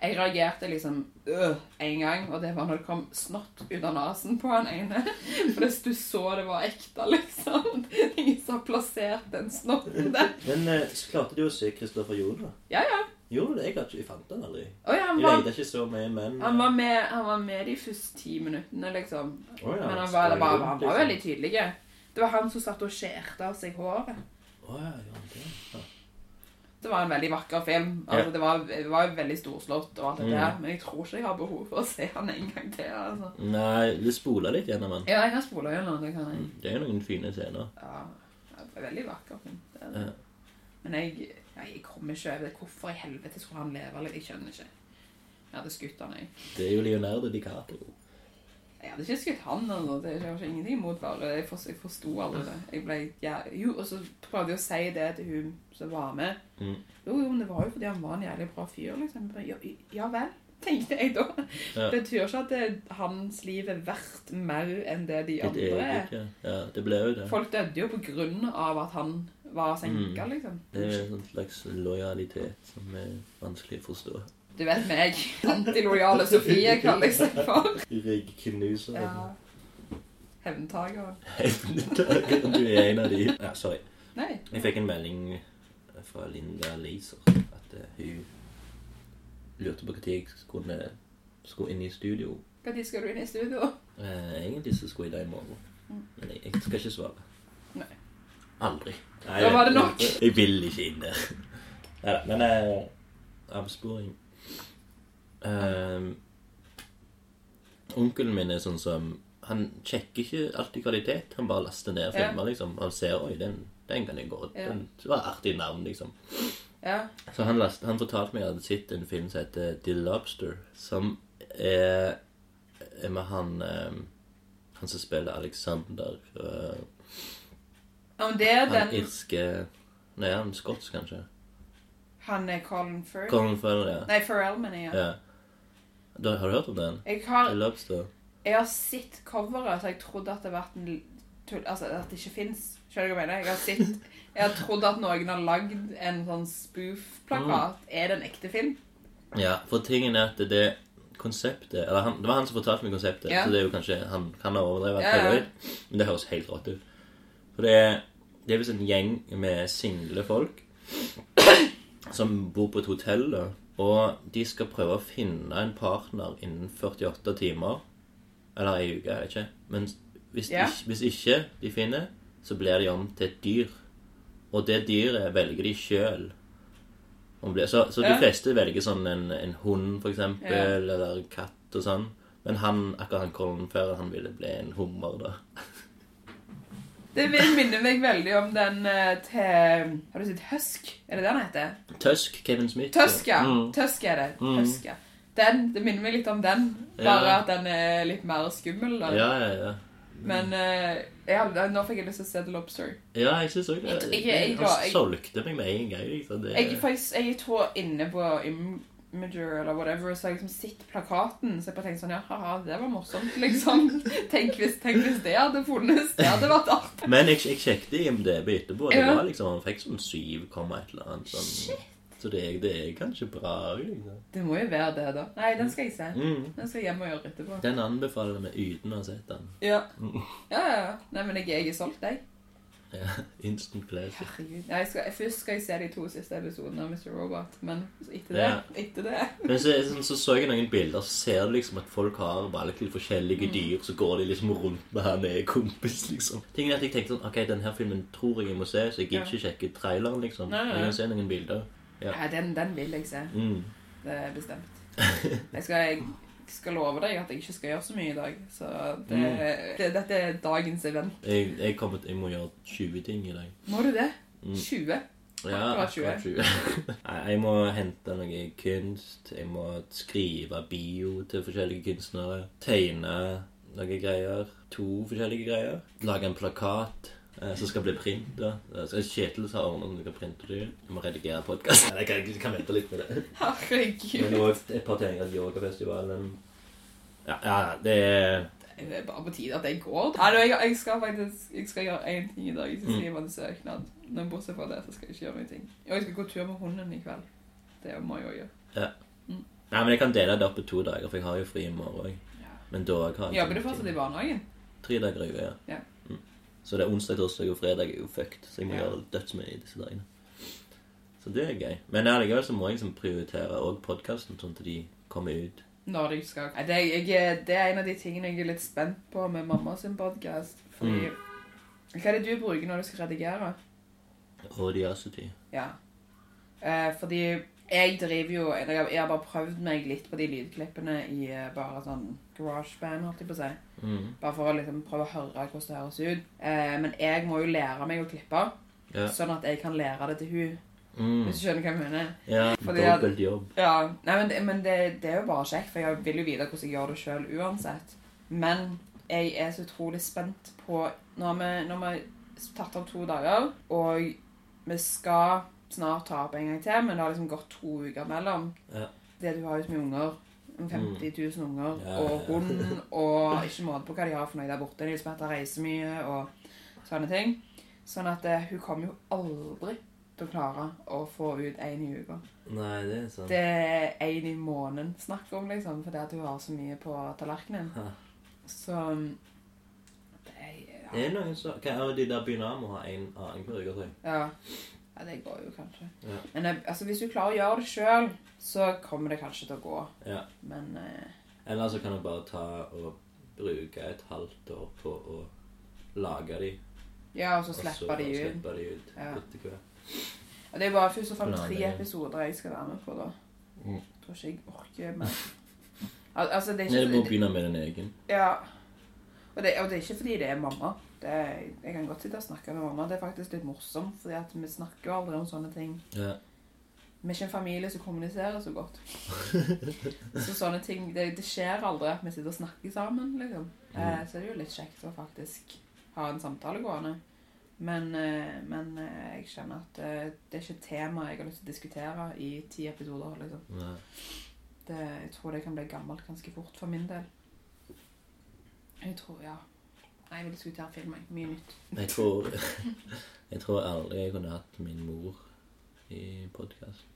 Jeg reagerte liksom øh, en gang, og det var når det kom snott ut av nesen på han ene. For hvis du så det var ekte, liksom. Ingen som har plassert den snotten der.
Men eh, så klarte du å se Kristoffer Joner.
Ja, ja.
Gjorde du det? Jeg, har ikke, jeg fant han aldri.
Å ja, han
Jeg
var,
lette ikke så mye, men
han var, med, han var med de første ti minuttene, liksom.
Å ja,
Men han
så
var,
det
var,
rundt,
han var
liksom.
veldig tydelig. Det var han som satt og skjærte av seg håret.
Å ja, gjorde han det? Ja.
Det var en veldig vakker film. Altså, det, var, det var jo veldig storslått og alt det
Mm.
der. Men jeg tror ikke jeg har behov for å se han en gang til. altså.
Nei, du spoler litt gjennom han.
Ja, jeg kan spole gjennom det, kan jeg.
Det er jo noen fine scener.
Ja, det er veldig vakker film. Det er det. Men jeg, nei, jeg kommer ikke over det. Hvorfor i helvete skulle han leve? Eller, jeg skjønner ikke. Jeg hadde skutt han, jeg.
Det er jo Leonardo DiCaprio.
Jeg hadde ikke skutt han, altså. Det var ikke ingenting imot bare. Jeg, for, jeg forsto aldri det. Jeg ble, ja, jo, og så prøvde jeg å si det til hun som var med.
Mm.
Jo, jo, men det var jo fordi han var en jævlig bra fyr, liksom. Men Ja, ja vel, tenkte jeg da.
Ja.
Det betyr ikke at det, hans liv er verdt mer enn det de
Ditt
andre
eget,
er.
ja. ja. Det ble jo det.
Folk døde jo på grunn av at han var senka,
Mm.
liksom.
Det er en sånn slags lojalitet som er vanskelig å forstå.
Du vet meg. Antilojale Sofie kaller jeg seg for.
Ryggknuser.
Ja. Hevntaker.
Du er en av de. Ja, sorry.
Nei.
Jeg fikk en melding fra Linda Leiser at eh, hun lurte på når jeg skulle, skulle inn i studio.
Når skal du inn i studio?
Eh, egentlig så skulle jeg det i morgen, men jeg, jeg skal ikke svare.
Nei.
Aldri. Nei,
Da var
jeg-
det nok.
Jeg vil ikke inn der. Nei da, men eh, avsporing Ehm, Onkelen min er sånn som Han sjekker ikke alltid kvalitet. Han bare laster
Ja.
ned filmer, liksom. Han ser 'oi, den, den kan jeg gå
Ja.
den, Det var et artig navn', liksom.
Ja.
Så han, last, han fortalte meg at jeg hadde sett en film som heter The Lobster, som er, er med han eh, Han som spiller Alexander eh,
Ja, men det er
Han
den
irske Nei, han er skotsk, kanskje.
Han er Colin Firth.
Colin Farrell,
Nei, Pharrell, mener jeg.
ja. ja. Da, har du hørt om den?
Jeg
The
har,
Lobster?
jeg har sett coveret, så jeg trodde at det vært en tull... Altså, at det ikke fins. Skjønner du hva jeg mener? Jeg har sett Jeg har trodd at noen har lagd en sånn
Ah.
spoof-plakat. Er det en ekte film?
Ja, for tingen er at det konseptet Eller han, det var han som fortalte meg konseptet,
Ja.
så det er jo kanskje han kan ha overdrevet.
Ja, ja.
prøver ut, Men det høres helt rått ut. For det er, det er visst en gjeng med single folk som bor på et hotell, da. Og de skal prøve å finne en partner innen 48 timer. Eller ei uke, jeg vet ikke. Men hvis,
Ja.
ikke, hvis ikke de finner, så blir de om til et dyr. Og det dyret velger de sjøl. Så, så de
Ja.
fleste velger sånn en, en hund, for eksempel,
Ja.
eller katt og sånn. Men han, akkurat han Colin Farrell, han ville bli en hummer, da.
Det vil- minner meg veldig om den eh, til Har du sett Husk? Er det det den heter?
Tusk, Kevin Smith.
Tøsk, ja.
Mm.
Tøsk er det.
Mm.
Tøsk, ja. Den, det minner meg litt om den,
Ja.
bare at den er litt mer skummel. Da.
Ja, ja, ja.
Men eh, jeg hadde, nå fikk jeg lyst til å se The Lobster.
Ja, jeg syns òg det.
Jeg- jeg- jeg-
Han
jeg-
solgte meg med en gang. Liksom. Det,
Jeg, faktisk, jeg tror inne på Imager eller whatever, så har jeg liksom sett plakaten, så jeg bare tenkte sånn, ja, haha, det var morsomt, liksom. Tenk hvis, tenk hvis det hadde funnes, det hadde vært artig.
Men jeg, jeg sjekket IMDb etterpå. og Det
Ja.
var liksom, Han fikk sånn 7, komma et eller annet. Sånn. Så det, er- det er kanskje bra òg. Liksom.
Det må jo være det, da. Nei, den skal jeg se.
Mm.
Den skal jeg hjem og gjøre etterpå.
Den anbefaler vi uten å ha sett den.
Ja. Ja, ja, ja. Nei, men jeg, jeg er solgt, jeg.
Ja, Instant pleasure.
Herregud. Nei, jeg skal, først skal jeg se de to siste episodene av Mr. Robot, men etter det,
Ja.
etter det.
Men så, sånn, så så jeg noen bilder, så ser du liksom at folk har valgt litt forskjellige dyr, så går de liksom rundt med han er kompis, liksom. Tingen er at jeg tenkte sånn, ok, denne filmen tror jeg jeg må se, så jeg gidder ikke sjekke traileren, liksom.
Nei, nei.
Jeg kan se noen bilder. Ja.
Nei, den, den vil jeg se.
Mm.
Det er bestemt. Jeg skal, jeg skal love deg at jeg ikke skal gjøre så mye i dag. Så det,
Mm.
det, dette er dagens event.
Jeg, jeg, kommer til, jeg må gjøre 20 ting i dag.
Må du det?
Mm.
20?
Ja,
Akkurat 20.
akkurat 20. Nei, jeg må hente noe kunst. Jeg må skrive bio til forskjellige kunstnere. Tegne noen greier. To forskjellige greier. Lage en plakat eh, som skal bli printa. Kjetil har ordna noe skal printe det. Jeg må redigere podkast. Jeg kan, jeg kan vente litt med det. Men
Herregud.
òg et par tegninger til yogafestivalen. Ja, ja, det er
Det er bare på tide at jeg går. Nei, jeg, jeg skal faktisk jeg skal gjøre én ting i dag. Jeg skal
Mm.
skrive en søknad. Men bortsett fra det så skal jeg ikke gjøre noen ting. Og jeg skal gå tur med hunden i kveld. Det må jeg òg gjøre.
Nei, men jeg kan dele det opp på to dager, for jeg har jo fri i morgen òg.
Ja.
Men da har jeg
Jobber
sånn
du fortsatt
ting.
i barnehagen?
Tre dager i uka, ja.
Ja.
Mm. Så det er onsdag, torsdag og fredag er jo fucked, så jeg må
Ja.
gjøre dødsmye i disse dagene. Så det er gøy. Men allikevel så må jeg liksom prioritere òg podkasten, sånn at de kommer ut.
Når jeg skal Nei, det, er- jeg, er- det er en av de tingene jeg er litt spent på med mamma sin podkast. Fordi Hva er det du bruker når du skal redigere?
Audiosity.
Ja. Eh, fordi jeg driver jo eller Jeg jeg har bare prøvd meg litt på de lydklippene i eh, bare sånn garasjeband, holdt jeg på å si.
Mm.
Bare for å liksom prøve å høre hvordan det høres ut. Eh, men jeg må jo lære meg å klippe,
Ja.
sånn at jeg kan lære det til hun.
Mm.
Hvis du skjønner hva jeg mener.
ja.
Fordi at-
Dobbelt jobb.
Ja, nei, men, det, men det, det er jo bare kjekt, for jeg vil jo vite hvordan jeg gjør det sjøl uansett. Men jeg er så utrolig spent på Nå har vi, nå har vi tatt opp to dager, og vi skal snart ta opp en gang til, men det har liksom gått to uker mellom.
Ja. Mm.
Det du har jo så mye unger. 50 000 unger
Ja,
og
ja.
hund og ikke måte på hva de har for noe der borte. De som heter reiser mye og sånne ting. Sånn at eh, hun kommer jo aldri til å klare å få ut én i uka.
Nei, det er sant.
Det er én i måneden snakk om, liksom, fordi at hun har så mye på tallerkenen.
Ha.
Så um, det er,
Det
ja.
er noen som Hva er det de der Bynamo har en annen per uke, tror jeg.
Ja. ja, det går jo kanskje.
Ja.
Men eh, altså, hvis du klarer å gjøre det sjøl, så kommer det kanskje til å gå.
Ja.
Men eh,
Eller så kan du bare ta og bruke et halvt år på å lage de,
Ja, og så
og så altså.
slipper de ut.
slippe de ut
Ja.
etter hvert.
Og det er bare først og fremst
Planlegge.
tre episoder jeg skal være med på, da.
Mm.
Jeg tror ikke jeg orker mer. Al altså, det er
Nei,
ikke
du må begynne med din egen.
Ja. Og det, og det er ikke fordi det er mamma. Det er, jeg kan godt sitte og snakke med mamma. Det er faktisk litt morsomt, fordi at vi snakker jo aldri om sånne ting.
Ja.
Vi er ikke en familie som kommuniserer så godt. Så sånne ting, det, det skjer aldri at vi sitter og snakker sammen, liksom. Eh, så det er jo litt kjekt å faktisk ha en samtale gående. Men, eh, men eh, jeg kjenner at eh, det er ikke et tema jeg har lyst til å diskutere i ti episoder, liksom.
Nei.
Det, eh, jeg tror det kan bli gammelt ganske fort for min del. Jeg tror, ja. Nei, jeg vil diskutere film, jeg. Mye nytt.
Jeg tror, jeg tror aldri jeg kunne hatt min mor i podkast.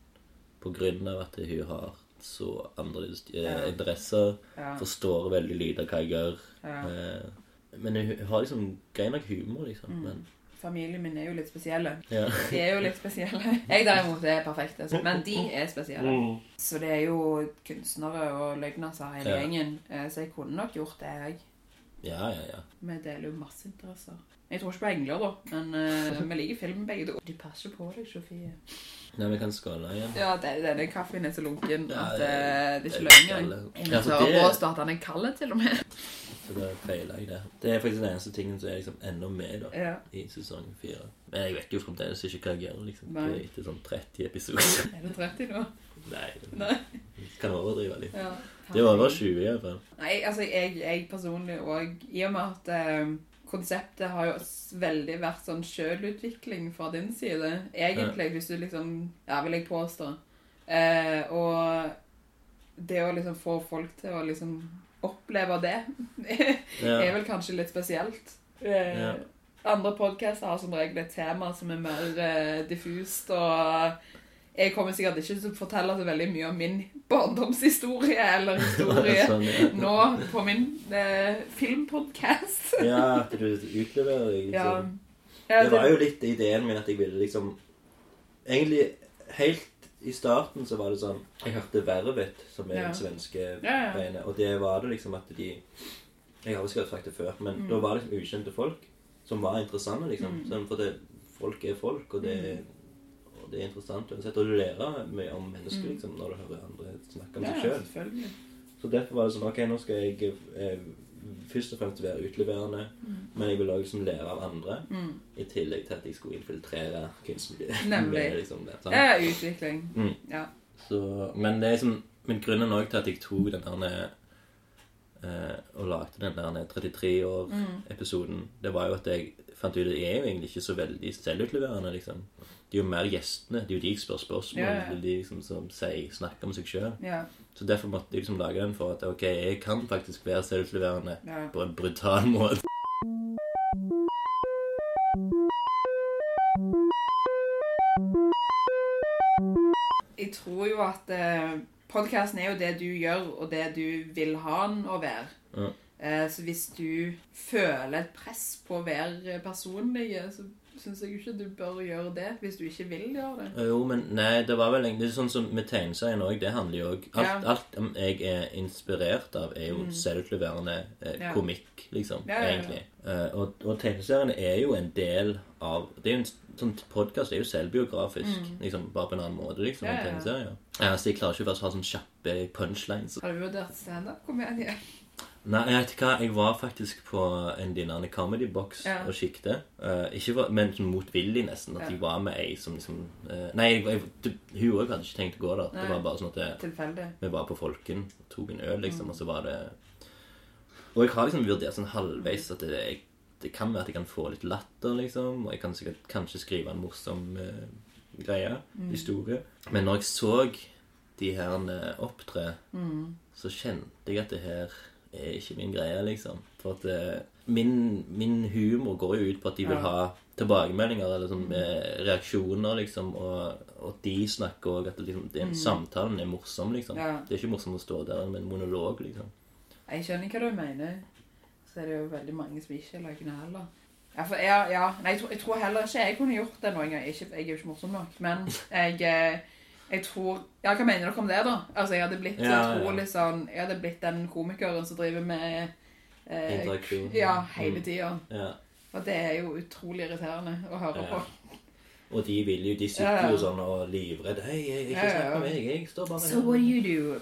På grunn av at hun har så annerledes eh,
Ja.
interesser.
Ja,
Forstår veldig lite av hva jeg gjør.
ja.
eh, Men hun hun har liksom grei nok humor, liksom.
Mm.
Men,
Familien min er jo litt spesielle.
ja.
De er jo litt spesielle. Jeg derimot er perfekte, så- men de er spesielle. Så det er jo kunstnere og løgnaser hele
Ja.
gjengen, eh, så jeg kunne nok gjort det, jeg.
ja, ja, ja.
Vi deler jo masse interesser. Jeg tror ikke på engler, da, men eh, vi liker film begge to. Du passer på deg, Sofie.
Nei, vi kan skåle igjen.
Ja, det, denne kaffen er så lunken
Ja,
at
det-
eh, det er ikke
det er
løgn engang.
gale.
Jeg
Ja,
må
for
tørre
det-
på å starte den kalde, til og med.
Så da feiler jeg det. Det er faktisk den eneste tingen som er liksom enda med da,
Ja.
i sesong fire. Men jeg vet jo fremdeles ikke hva jeg gjør liksom,
Nei.
etter sånn 30 episoder.
Er du 30 nå?
Nei.
Nei.
Kan overdrive litt.
Ja.
Det var over 20 i hvert fall.
Nei, altså jeg, jeg personlig òg I og med at eh, konseptet har jo s- veldig vært sånn sjølutvikling fra din side, egentlig, hvis du liksom Ja, vil jeg påstå. Eh, og det å liksom få folk til å liksom oppleve det, er
Ja.
vel kanskje litt spesielt. Eh,
Ja.
Andre podcaster har som regel et tema som er mer eh, diffust, og jeg kommer sikkert ikke til å fortelle så veldig mye om min barndomshistorie eller historie
sånn, ja.
nå på min eh, filmpodcast.
ja, at du utleverer deg.
Ja.
Liksom.
Ja,
Det var jo litt ideen min at jeg ville liksom Egentlig helt i starten så var det sånn Jeg hørte Vervet, som er
Ja.
den svenske
Ja, ja.
greiene, og det var det liksom at de Jeg har jo sikkert sagt det før, men
Mm.
da var det liksom ukjente folk som var interessante, liksom. Sånn, for det, folk er folk, og det,
Mm.
og det er interessant uansett. Og du lærer mye om mennesker liksom, når du hører andre snakke om
ja,
seg sjøl.
selvfølgelig.
Så derfor var det sånn Ok, nå skal jeg eh, først og fremst være utleverende,
Mm.
men jeg vil også liksom lære av andre. I tillegg til at jeg skulle infiltrere kunstmiljøet.
Nemlig.
med, liksom, det, sant?
Ja, utvikling.
Mm.
Ja.
Så, men det er liksom Men grunnen òg til at jeg tok den der eh, Og lagde den der
Mm.
33-år-episoden, det var jo at jeg fant ut at jeg er jo egentlig ikke så veldig selvutleverende, liksom. Det er jo mer gjestene. Det er jo de jeg spør spørsmål
Ja, ja.
det er de liksom som sier, snakker om seg sjøl.
Ja,
Så derfor måtte jeg liksom lage den for at ok, jeg kan faktisk være selvutleverende
ja.
på en brutal måte.
Jeg tror jo at eh, podcasten er jo det du gjør, og det du vil ha den å være.
Ja.
Eh, så hvis du føler et press på å være personlig, så synes jeg jo ikke du bør gjøre det hvis du ikke vil gjøre det.
Jo, men nei, det var vel egentlig sånn som med tegneserien òg. Det handler jo òg alt,
Ja. Mm.
alt om jeg er inspirert av, er jo selvutleverende eh,
Ja.
komikk, liksom.
Ja, ja, ja.
Egentlig. Eh, og, og tegneseriene er jo en del av Det er jo en s- sånn podkast er jo selvbiografisk, liksom, bare på en annen måte,
Mm.
liksom.
Ja,
enn
ja, ja.
tegneserier. Eh, så jeg klarer ikke først å ha sånn kjappe punchlines.
Har du vurdert stand-up-komedie?
Nei, jeg vet ikke hva, jeg var faktisk på en dinerne comedy box
Ja.
og kikket. Eh, ikke for, men sånn motvillig nesten, at
Ja.
jeg var med ei som liksom eh, Nei, jeg, jeg, du, hun òg hadde ikke tenkt å gå der. Det
Nei.
var bare sånn at det,
Tilfeldig.
vi var på Folken, tok en øl, liksom, og så var det Og jeg har liksom vurdert sånn halvveis at det, jeg, det kan være at jeg kan få litt latter, liksom, og jeg kan sikkert kanskje skrive en morsom eh, greie,
Mm.
historie. Men når jeg så de her eh, opptre så kjente jeg at det her er ikke min greie, liksom. For at eh, min, min humor går jo ut på at de vil
Ja. Mm.
ha tilbakemeldinger eller sånn, eh, reaksjoner, liksom. Og, og de snakker òg at det, liksom, det er en samtalen er morsom, liksom.
Mm. Ja.
Det er ikke morsomt å stå der med en monolog, liksom.
Jeg skjønner hva du mener. Så er det jo veldig mange som ikke lager det heller. Ja, for jeg, ja, nei, jeg, tror, jeg tror heller ikke jeg kunne gjort det noen gang. Ikke, jeg er jo ikke morsom nok, men jeg, eh, jeg tror Ja, hva mener dere om det, da? Altså, Jeg hadde blitt
Ja, ja.
utrolig sånn Jeg hadde blitt den komikeren som driver med eh,
Interaksjon.
Ja, hele
Mm.
tida.
Ja.
Og det er jo utrolig irriterende å høre
Ja.
på.
Og de vil jo, de sitter
Ja, ja.
jo sånn og livredde. Hei, hei,
Ja,
ikke
ja,
snakk
ja.
med meg, jeg står bare
So what do you do?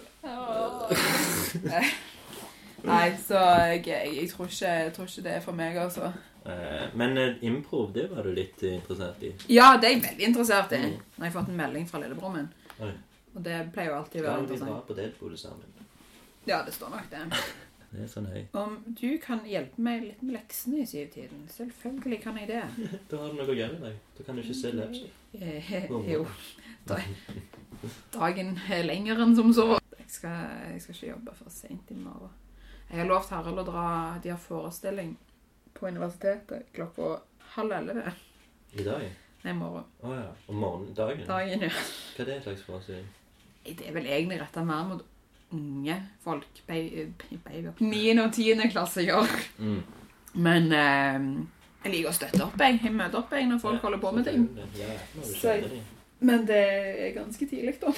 Nei, så jeg, jeg, jeg, tror ikke, jeg tror ikke det er for meg, altså.
Eh, Men eh, improv, det var du litt eh, interessert i.
Ja, det er jeg veldig interessert
Mm.
i. Nå har jeg fått en melding fra lillebroren min.
Oi.
Og det pleier jo alltid å være
Kan vi dra
interessant.
på Deadpool sammen?
Ja, det står nok det.
Det er sånn høy.
Om du kan hjelpe meg litt med leksene i syvtiden? Selvfølgelig kan jeg det.
Da har du noe å gjøre i dag. Da kan du ikke se lapstick.
Eh, jo. Da, dagen er lenger enn som så. Jeg skal, jeg skal ikke jobbe for sent i morgen. Jeg har lovt Harald å dra De har forestilling på universitetet klokka halv elleve.
I dag?
Nei, i morgen.
Å ja. Om morgenen? Dagen?
Dagen, ja.
Hva er det slags forestilling?
Det er vel egentlig retta mer mot unge folk. Babyer. 9. og 10. klassinger.
Mm.
Men eh, jeg liker å støtte opp. Jeg, jeg møter opp jeg, når folk holder på med ting.
Ja, nå har du
Så-
skjønt det.
Men det er ganske tidlig, da.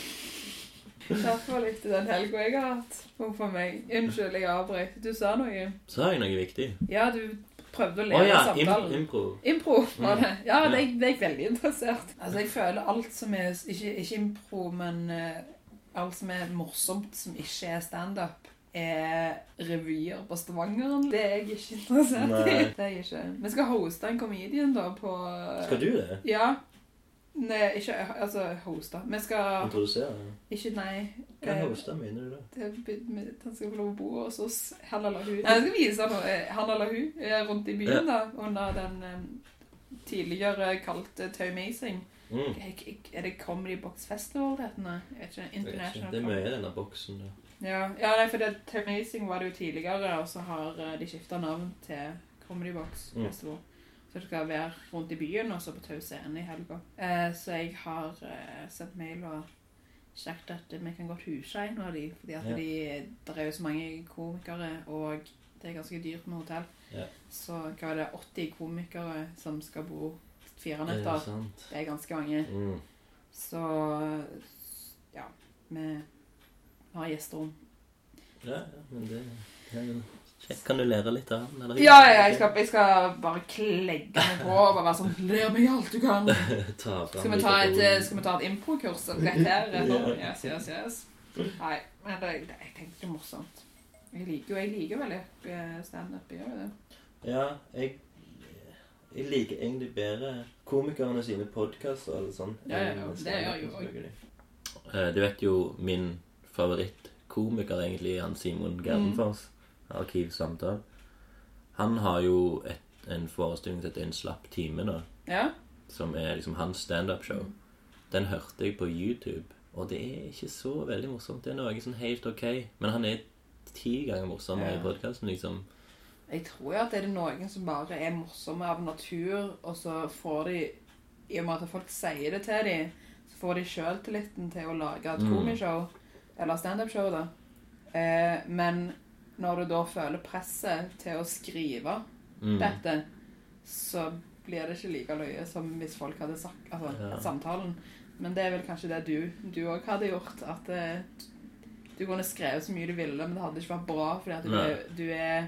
Derfor likte den helga jeg har hatt. Huff a meg. Unnskyld, jeg avbrøt. Du sa noe.
Sa jeg noe viktig?
Ja, du prøvde å
Å
leve
ja, im
samtalen.
impro.
Impro var
Mm.
det. Ja,
Ja.
det er, det er jeg veldig interessert. Altså, jeg føler alt som er Ikke, ikke impro, men eh, alt som er morsomt som ikke er standup, er revyer på Stavangeren. Det er jeg ikke interessert i.
Nei.
Det er jeg ikke. Vi skal hoste en comedian, da, på
Skal du det?
eh, Ja. Nei, ikke altså, hoste. Vi skal
Introdusere?
ikke Nei.
Hva
eh,
hoster mener du da?
det er by- med- Han skal få lov å bo hos oss, han eller hun. Nei, jeg skal vise han, eh, han eller hun eh, rundt i byen, da. Under den eh, tidligere kalt eh, Taumazing.
Mm.
Jeg- jeg- Er det Comedy Box Festival det heter? Nei, jeg vet ikke.
Jeg vet ikke.
International
Det er
Comedy-
mye i denne boksen. da.
Ja, ja nei, for det, Amazing var det jo tidligere, og så har eh, de skifta navn til Comedy Box
Mm.
Festival. Så det skal være rundt i byen og så på Tau Scene i helga. Eh, så jeg har eh, sendt mail og sagt at vi kan godt huse en av de, fordi at
Ja.
de, der er jo så mange komikere, og det er ganske dyrt med hotell.
Ja.
Så hva er det, 80 komikere som skal bo fire
Er det
netter.
sant?
Det er ganske mange.
Mm.
Så ja, vi har gjesterom.
Ja, ja, men det det er jo kjekt. Kan du lære litt av han? eller?
Ja, ja, jeg skal, jeg skal bare klegge meg på og bare være sånn Ler meg alt du kan.
Ta fram
Skal vi ta et,
mikrofonen.
eh, skal vi ta et impro-kurs rett her? eller? Yes, yes, yes. Nei, men det, det, jeg tenkte det er morsomt. Jeg liker jo jeg liker veldig eh, standup. jeg Gjør jo det.
Ja, jeg, jeg liker egentlig bedre komikerne sine podkaster og sånn, alt sånt.
Ja, ja, ja, det gjør jeg jo
Eh, Du vet jo min favorittkomiker egentlig, han Simon Gerdenfors.
Mm.
Arkivsamtale. Han har jo et, en forestilling som heter En slapp time nå,
Ja?
som er liksom hans standup-show.
Mm.
Den hørte jeg på YouTube, og det er ikke så veldig morsomt. Det er noe sånn helt ok, men han er ti ganger morsommere
Ja.
i podkasten, liksom.
Jeg tror jo at det er noen som bare er morsomme av natur, og så får de I og med at folk sier det til dem, så får de sjøltilliten til å lage et
Mm.
komishow, eller standup-show, da. Eh, men når du da føler presset til å skrive
Mm.
dette, så blir det ikke like løye som hvis folk hadde sagt Altså
Ja.
samtalen. Men det er vel kanskje det du du òg hadde gjort. At eh, du kunne skrevet så mye du ville, men det hadde ikke vært bra, fordi at du, du er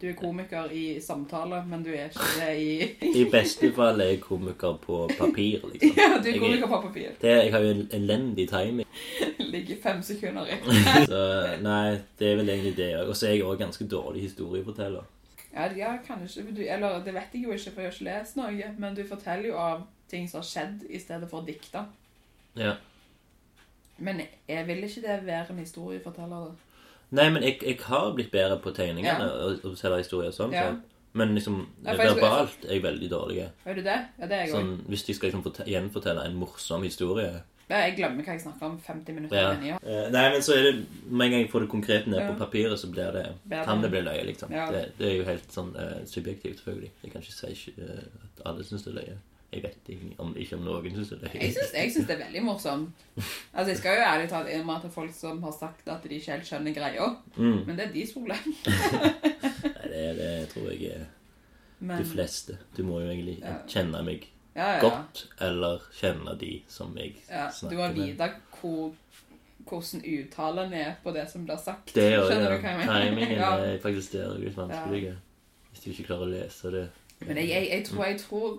du er komiker i samtale, men du er ikke det i
I beste fall er jeg komiker på papir, liksom.
Ja, du er
Jeg-
komiker på papir.
Det, jeg har jo en elendig timing.
Ligger fem sekunder i.
Så nei, det er vel egentlig det òg. Og så er jeg òg ganske dårlig historieforteller.
Ja, ja, kanskje du, Eller det vet jeg jo ikke, for jeg har ikke lest noe, men du forteller jo av ting som har skjedd, i stedet for dikta.
Ja.
Men jeg vil ikke det være en historieforteller, da.
Nei, men jeg, jeg har blitt bedre på tegningene og, og selge historier og sånn.
Ja.
sånn. Men liksom
Ja, for jeg-
verbalt er jeg veldig dårlig.
Er du det? Ja, det er jeg òg.
Sånn, hvis de skal liksom forte- gjenfortelle en morsom historie
Ja, Jeg glemmer hva jeg snakker om 50 minutter
Ja.
inni. ja.
Eh, Nei, men så er det Med en gang jeg får det konkret ned på
Ja.
papiret, så blir det
Bedre.
Kan det bli løye, liksom.
Ja.
Det, det er jo helt sånn eh, subjektivt, selvfølgelig. Jeg kan ikke si ikke, eh, at alle syns det er løye. Jeg vet ikke om, ikke om noen syns det er løye.
Jeg syns, jeg syns det er veldig morsomt. Altså, Jeg skal jo ærlig talt innrømme at det er folk som har sagt at de ikke helt skjønner greia,
Mm.
men det er deres problem.
Nei, det, det tror jeg er
Men,
de fleste. Du må jo egentlig
Ja.
kjenne meg
ja, ja, ja.
godt, eller kjenne de som jeg
ja. Du må
snakker med.
vite hvor, hvordan uttalen er på det som blir sagt.
Det og
Skjønner
ja,
du hva jeg mener?
timingen
Ja.
er faktisk der litt vanskelig. Hvis du ikke klarer å lese det.
Men jeg, jeg, jeg tror jeg tror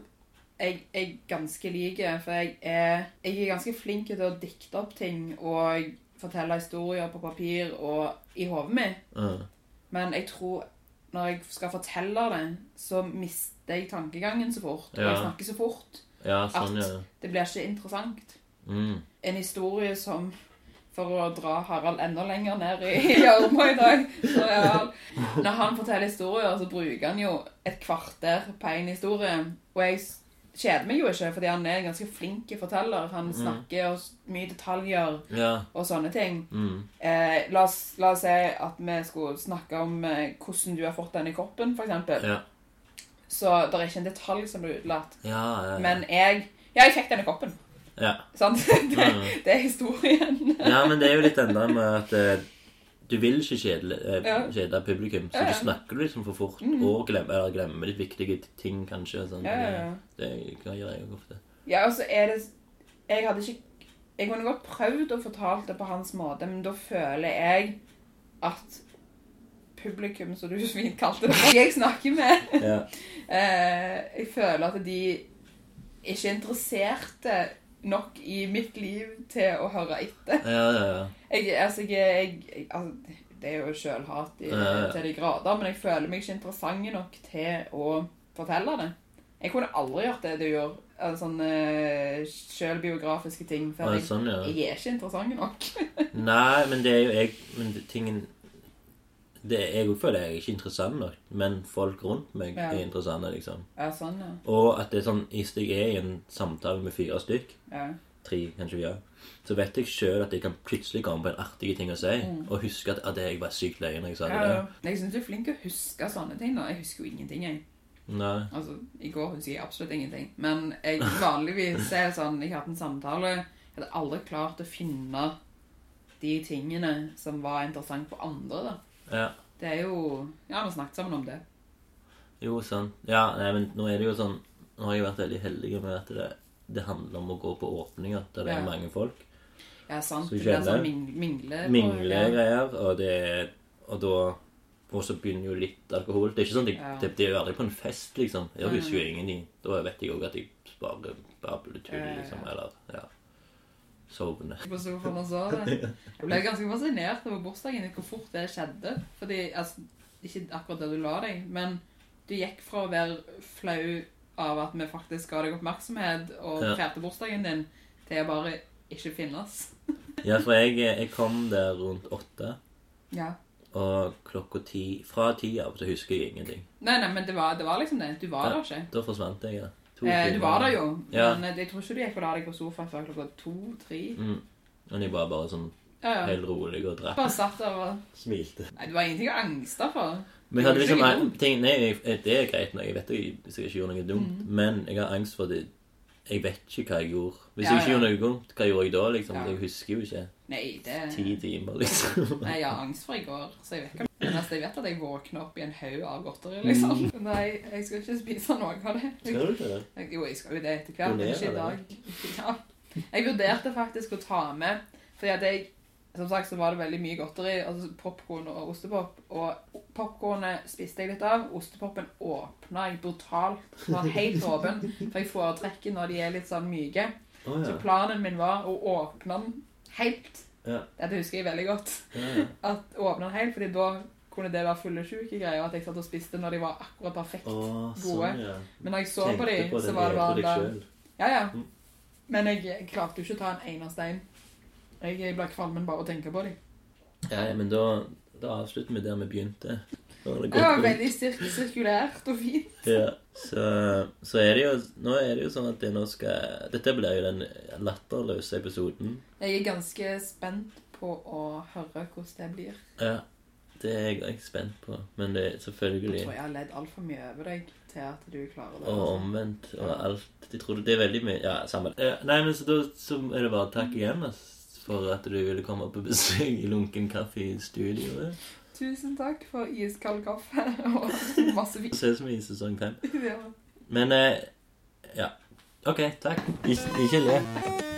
jeg er ganske lik, for jeg er, jeg er ganske flink til å dikte opp ting og fortelle historier på papir og i hodet mitt.
Ja.
Men jeg tror når jeg skal fortelle det, så mister jeg tankegangen så fort. Og
Ja.
jeg snakker så fort.
ja, sånn, ja.
Det blir ikke interessant.
Mm.
En historie som For å dra Harald enda lenger ned i gjørma i dag så er Harald, Når han forteller historier, så bruker han jo et kvarter på én historie. Og jeg s- kjeder meg jo ikke, fordi han er en ganske flink forteller. Han snakker og s- mye detaljer
Ja.
og sånne ting.
Mm.
Eh, la, oss, la oss si at vi skulle snakke om eh, hvordan du har fått den i kroppen, f.eks.
Ja.
Så det er ikke en detalj som blir utelatt.
Ja, ja, ja.
Men jeg Ja, jeg fikk den i kroppen.
ja.
Sant? Det,
Mm.
det er historien.
ja, men det er jo litt enda med at eh, du vil ikke kjedle, eh,
Ja.
kjede publikum, så
Ja, ja.
du snakker liksom for fort og glemmer, eller glemmer litt viktige ting, kanskje. Sånn.
Ja, ja, ja.
Det, det gjør jeg jo ofte.
Ja, altså er det Jeg hadde ikke Jeg kunne godt prøvd å fortale det på hans måte, men da føler jeg at publikum, som du så fint kalte det, jeg snakker med
Ja.
Eh, jeg føler at de ikke er interesserte nok i mitt liv til å høre etter.
Ja, ja, ja.
Jeg, altså, jeg, jeg, jeg, altså, det er jo sjølhat i-
Ja, ja, ja.
til de grader, men jeg føler meg ikke interessant nok til å fortelle det. Jeg kunne aldri gjort det du gjør. Altså, sånne eh, selvbiografiske ting.
Å,
For jeg,
sånn, ja.
jeg er ikke interessant nok.
Nei, men det er jo jeg Men det- tingen det er, Jeg føler jeg er ikke interessant nok, men folk rundt meg
Ja.
er interessante, liksom.
Ja, sånn, ja.
Og at det er sånn Hvis jeg er i en samtale med fire stykk,
ja.
tre, kanskje fire, så vet jeg sjøl at jeg kan plutselig komme på en artig ting å si, og huske at, at jeg var sykt løye når jeg sa
Mm. Ja,
Sånn det.
ja.
der.
Jeg syns du er flink til å huske sånne ting. da. Jeg husker jo ingenting. jeg.
Nei.
Altså, I går husker jeg absolutt ingenting. Men jeg vanligvis er det sånn Jeg hadde en samtale. Jeg hadde aldri klart å finne de tingene som var interessant for andre. da.
Ja.
Det er jo Ja, vi har snakket sammen om det.
Jo, sånn. Ja, nei, men nå er det jo sånn Nå har jeg vært veldig heldig med at det, det handler om å gå på åpninger der det
Ja.
er mange folk.
Ja, sant.
Skal vi
Det er sånn
kjenne?
ming- mingle...
minglegreier, og det er Og da Og så begynner jo litt alkohol. Det er ikke sånn at jeg,
Ja.
det, det er jo aldri på en fest, liksom. Jeg
Nei,
husker jo ingenting. Da vet jeg òg at jeg bare babletull,
Ja, ja, ja.
liksom. Eller ja. Sovne.
på sofaen og sove. Jeg ble ganske fascinert over bursdagen din, hvor fort det skjedde. Fordi, altså, ikke akkurat der du la deg, men du gikk fra å være flau av at vi faktisk ga deg oppmerksomhet og
Ja.
feirte bursdagen din, til å bare ikke finnes.
Ja, for jeg, jeg kom der rundt åtte,
Ja.
og klokka ti Fra ti av så husker jeg ingenting.
Nei, nei, men det var, det var liksom det. Du var
Ja.
der ikke.
Da forsvant jeg, ja. To
Eh, du
timer.
var der jo,
Ja.
men eh, jeg tror ikke du gikk og la deg på sofaen før klokka to-tre.
Mm. Men jeg var bare sånn
Ja, ja.
helt rolig og drakk.
Bare satt der og
Smilte.
Nei, det var ingenting å angste for.
Men jeg hadde
Det er jo
liksom
ikke dumt.
ting, nei, jeg- eh, Det er greit nok. Jeg vet jeg, hvis jeg ikke gjorde noe dumt.
Mm.
Men jeg har angst for det. Jeg vet ikke hva jeg gjorde. Hvis
Ja,
jeg ikke
ja.
gjorde noe dumt, hva gjorde jeg da? liksom?
Ja. Eh.
Jeg husker jo ikke.
Nei, det
Ti timer, liksom.
Nei, jeg har angst for i går, så jeg vet ikke om det eneste jeg vet er at jeg våkner opp i en haug av godteri, liksom.
Mm.
Nei, jeg skal ikke spise noe av det.
Skal du til det?
Jeg- Jo, jeg skal jo det etter hvert, men
Donerer
ikke i dag.
det?
Ja. Jeg vurderte faktisk å ta med, fordi at jeg, som sagt så var det veldig mye godteri, altså popcorn og ostepop, og popcornet spiste jeg litt av, ostepopen åpna jeg brutalt, sånn helt åpen, for jeg foretrekker når de er litt sånn myke.
Å
Så planen min var å åpne den helt.
Ja.
Dette husker jeg veldig godt
ja. ja.
at åpne den helt, fordi da kunne det være fullesjuke greier, at jeg satt og spiste når de var akkurat perfekt.
Å, sånn, ja.
Men når jeg så på
Tenkte
dem,
på
så
det
var det
hele
bare
deg
der.
sjøl.
Ja, ja.
Mm.
Men jeg, jeg klarte jo ikke å ta en eneste en. Jeg, jeg ble kvalmen bare av å tenke på dem.
Ja, men da, da avslutter vi der vi begynte. Da har
Det
det gått
var
rundt.
veldig sir sirkulært og fint.
Ja, så, så er det jo Nå er det jo sånn at det nå skal Dette blir jo den latterløse episoden.
Jeg er ganske spent på å høre hvordan det blir.
Ja, det er jeg også spent på. Men det er
Jeg
selvfølgelig
tror jeg har ledd altfor mye over deg til at du klarer det.
Og omvendt og alt. Jeg tror det er veldig mye Ja, samme det. Ja, Nei, men så da så er det bare takk igjen ass, for at du ville komme på besøk i Lunken kaffe i eh. studioet.
Tusen takk for iskald kaffe og masse fint.
Ses vi i sesong fem.
Ja.
Men eh, Ja. OK, takk. Ik ikke le.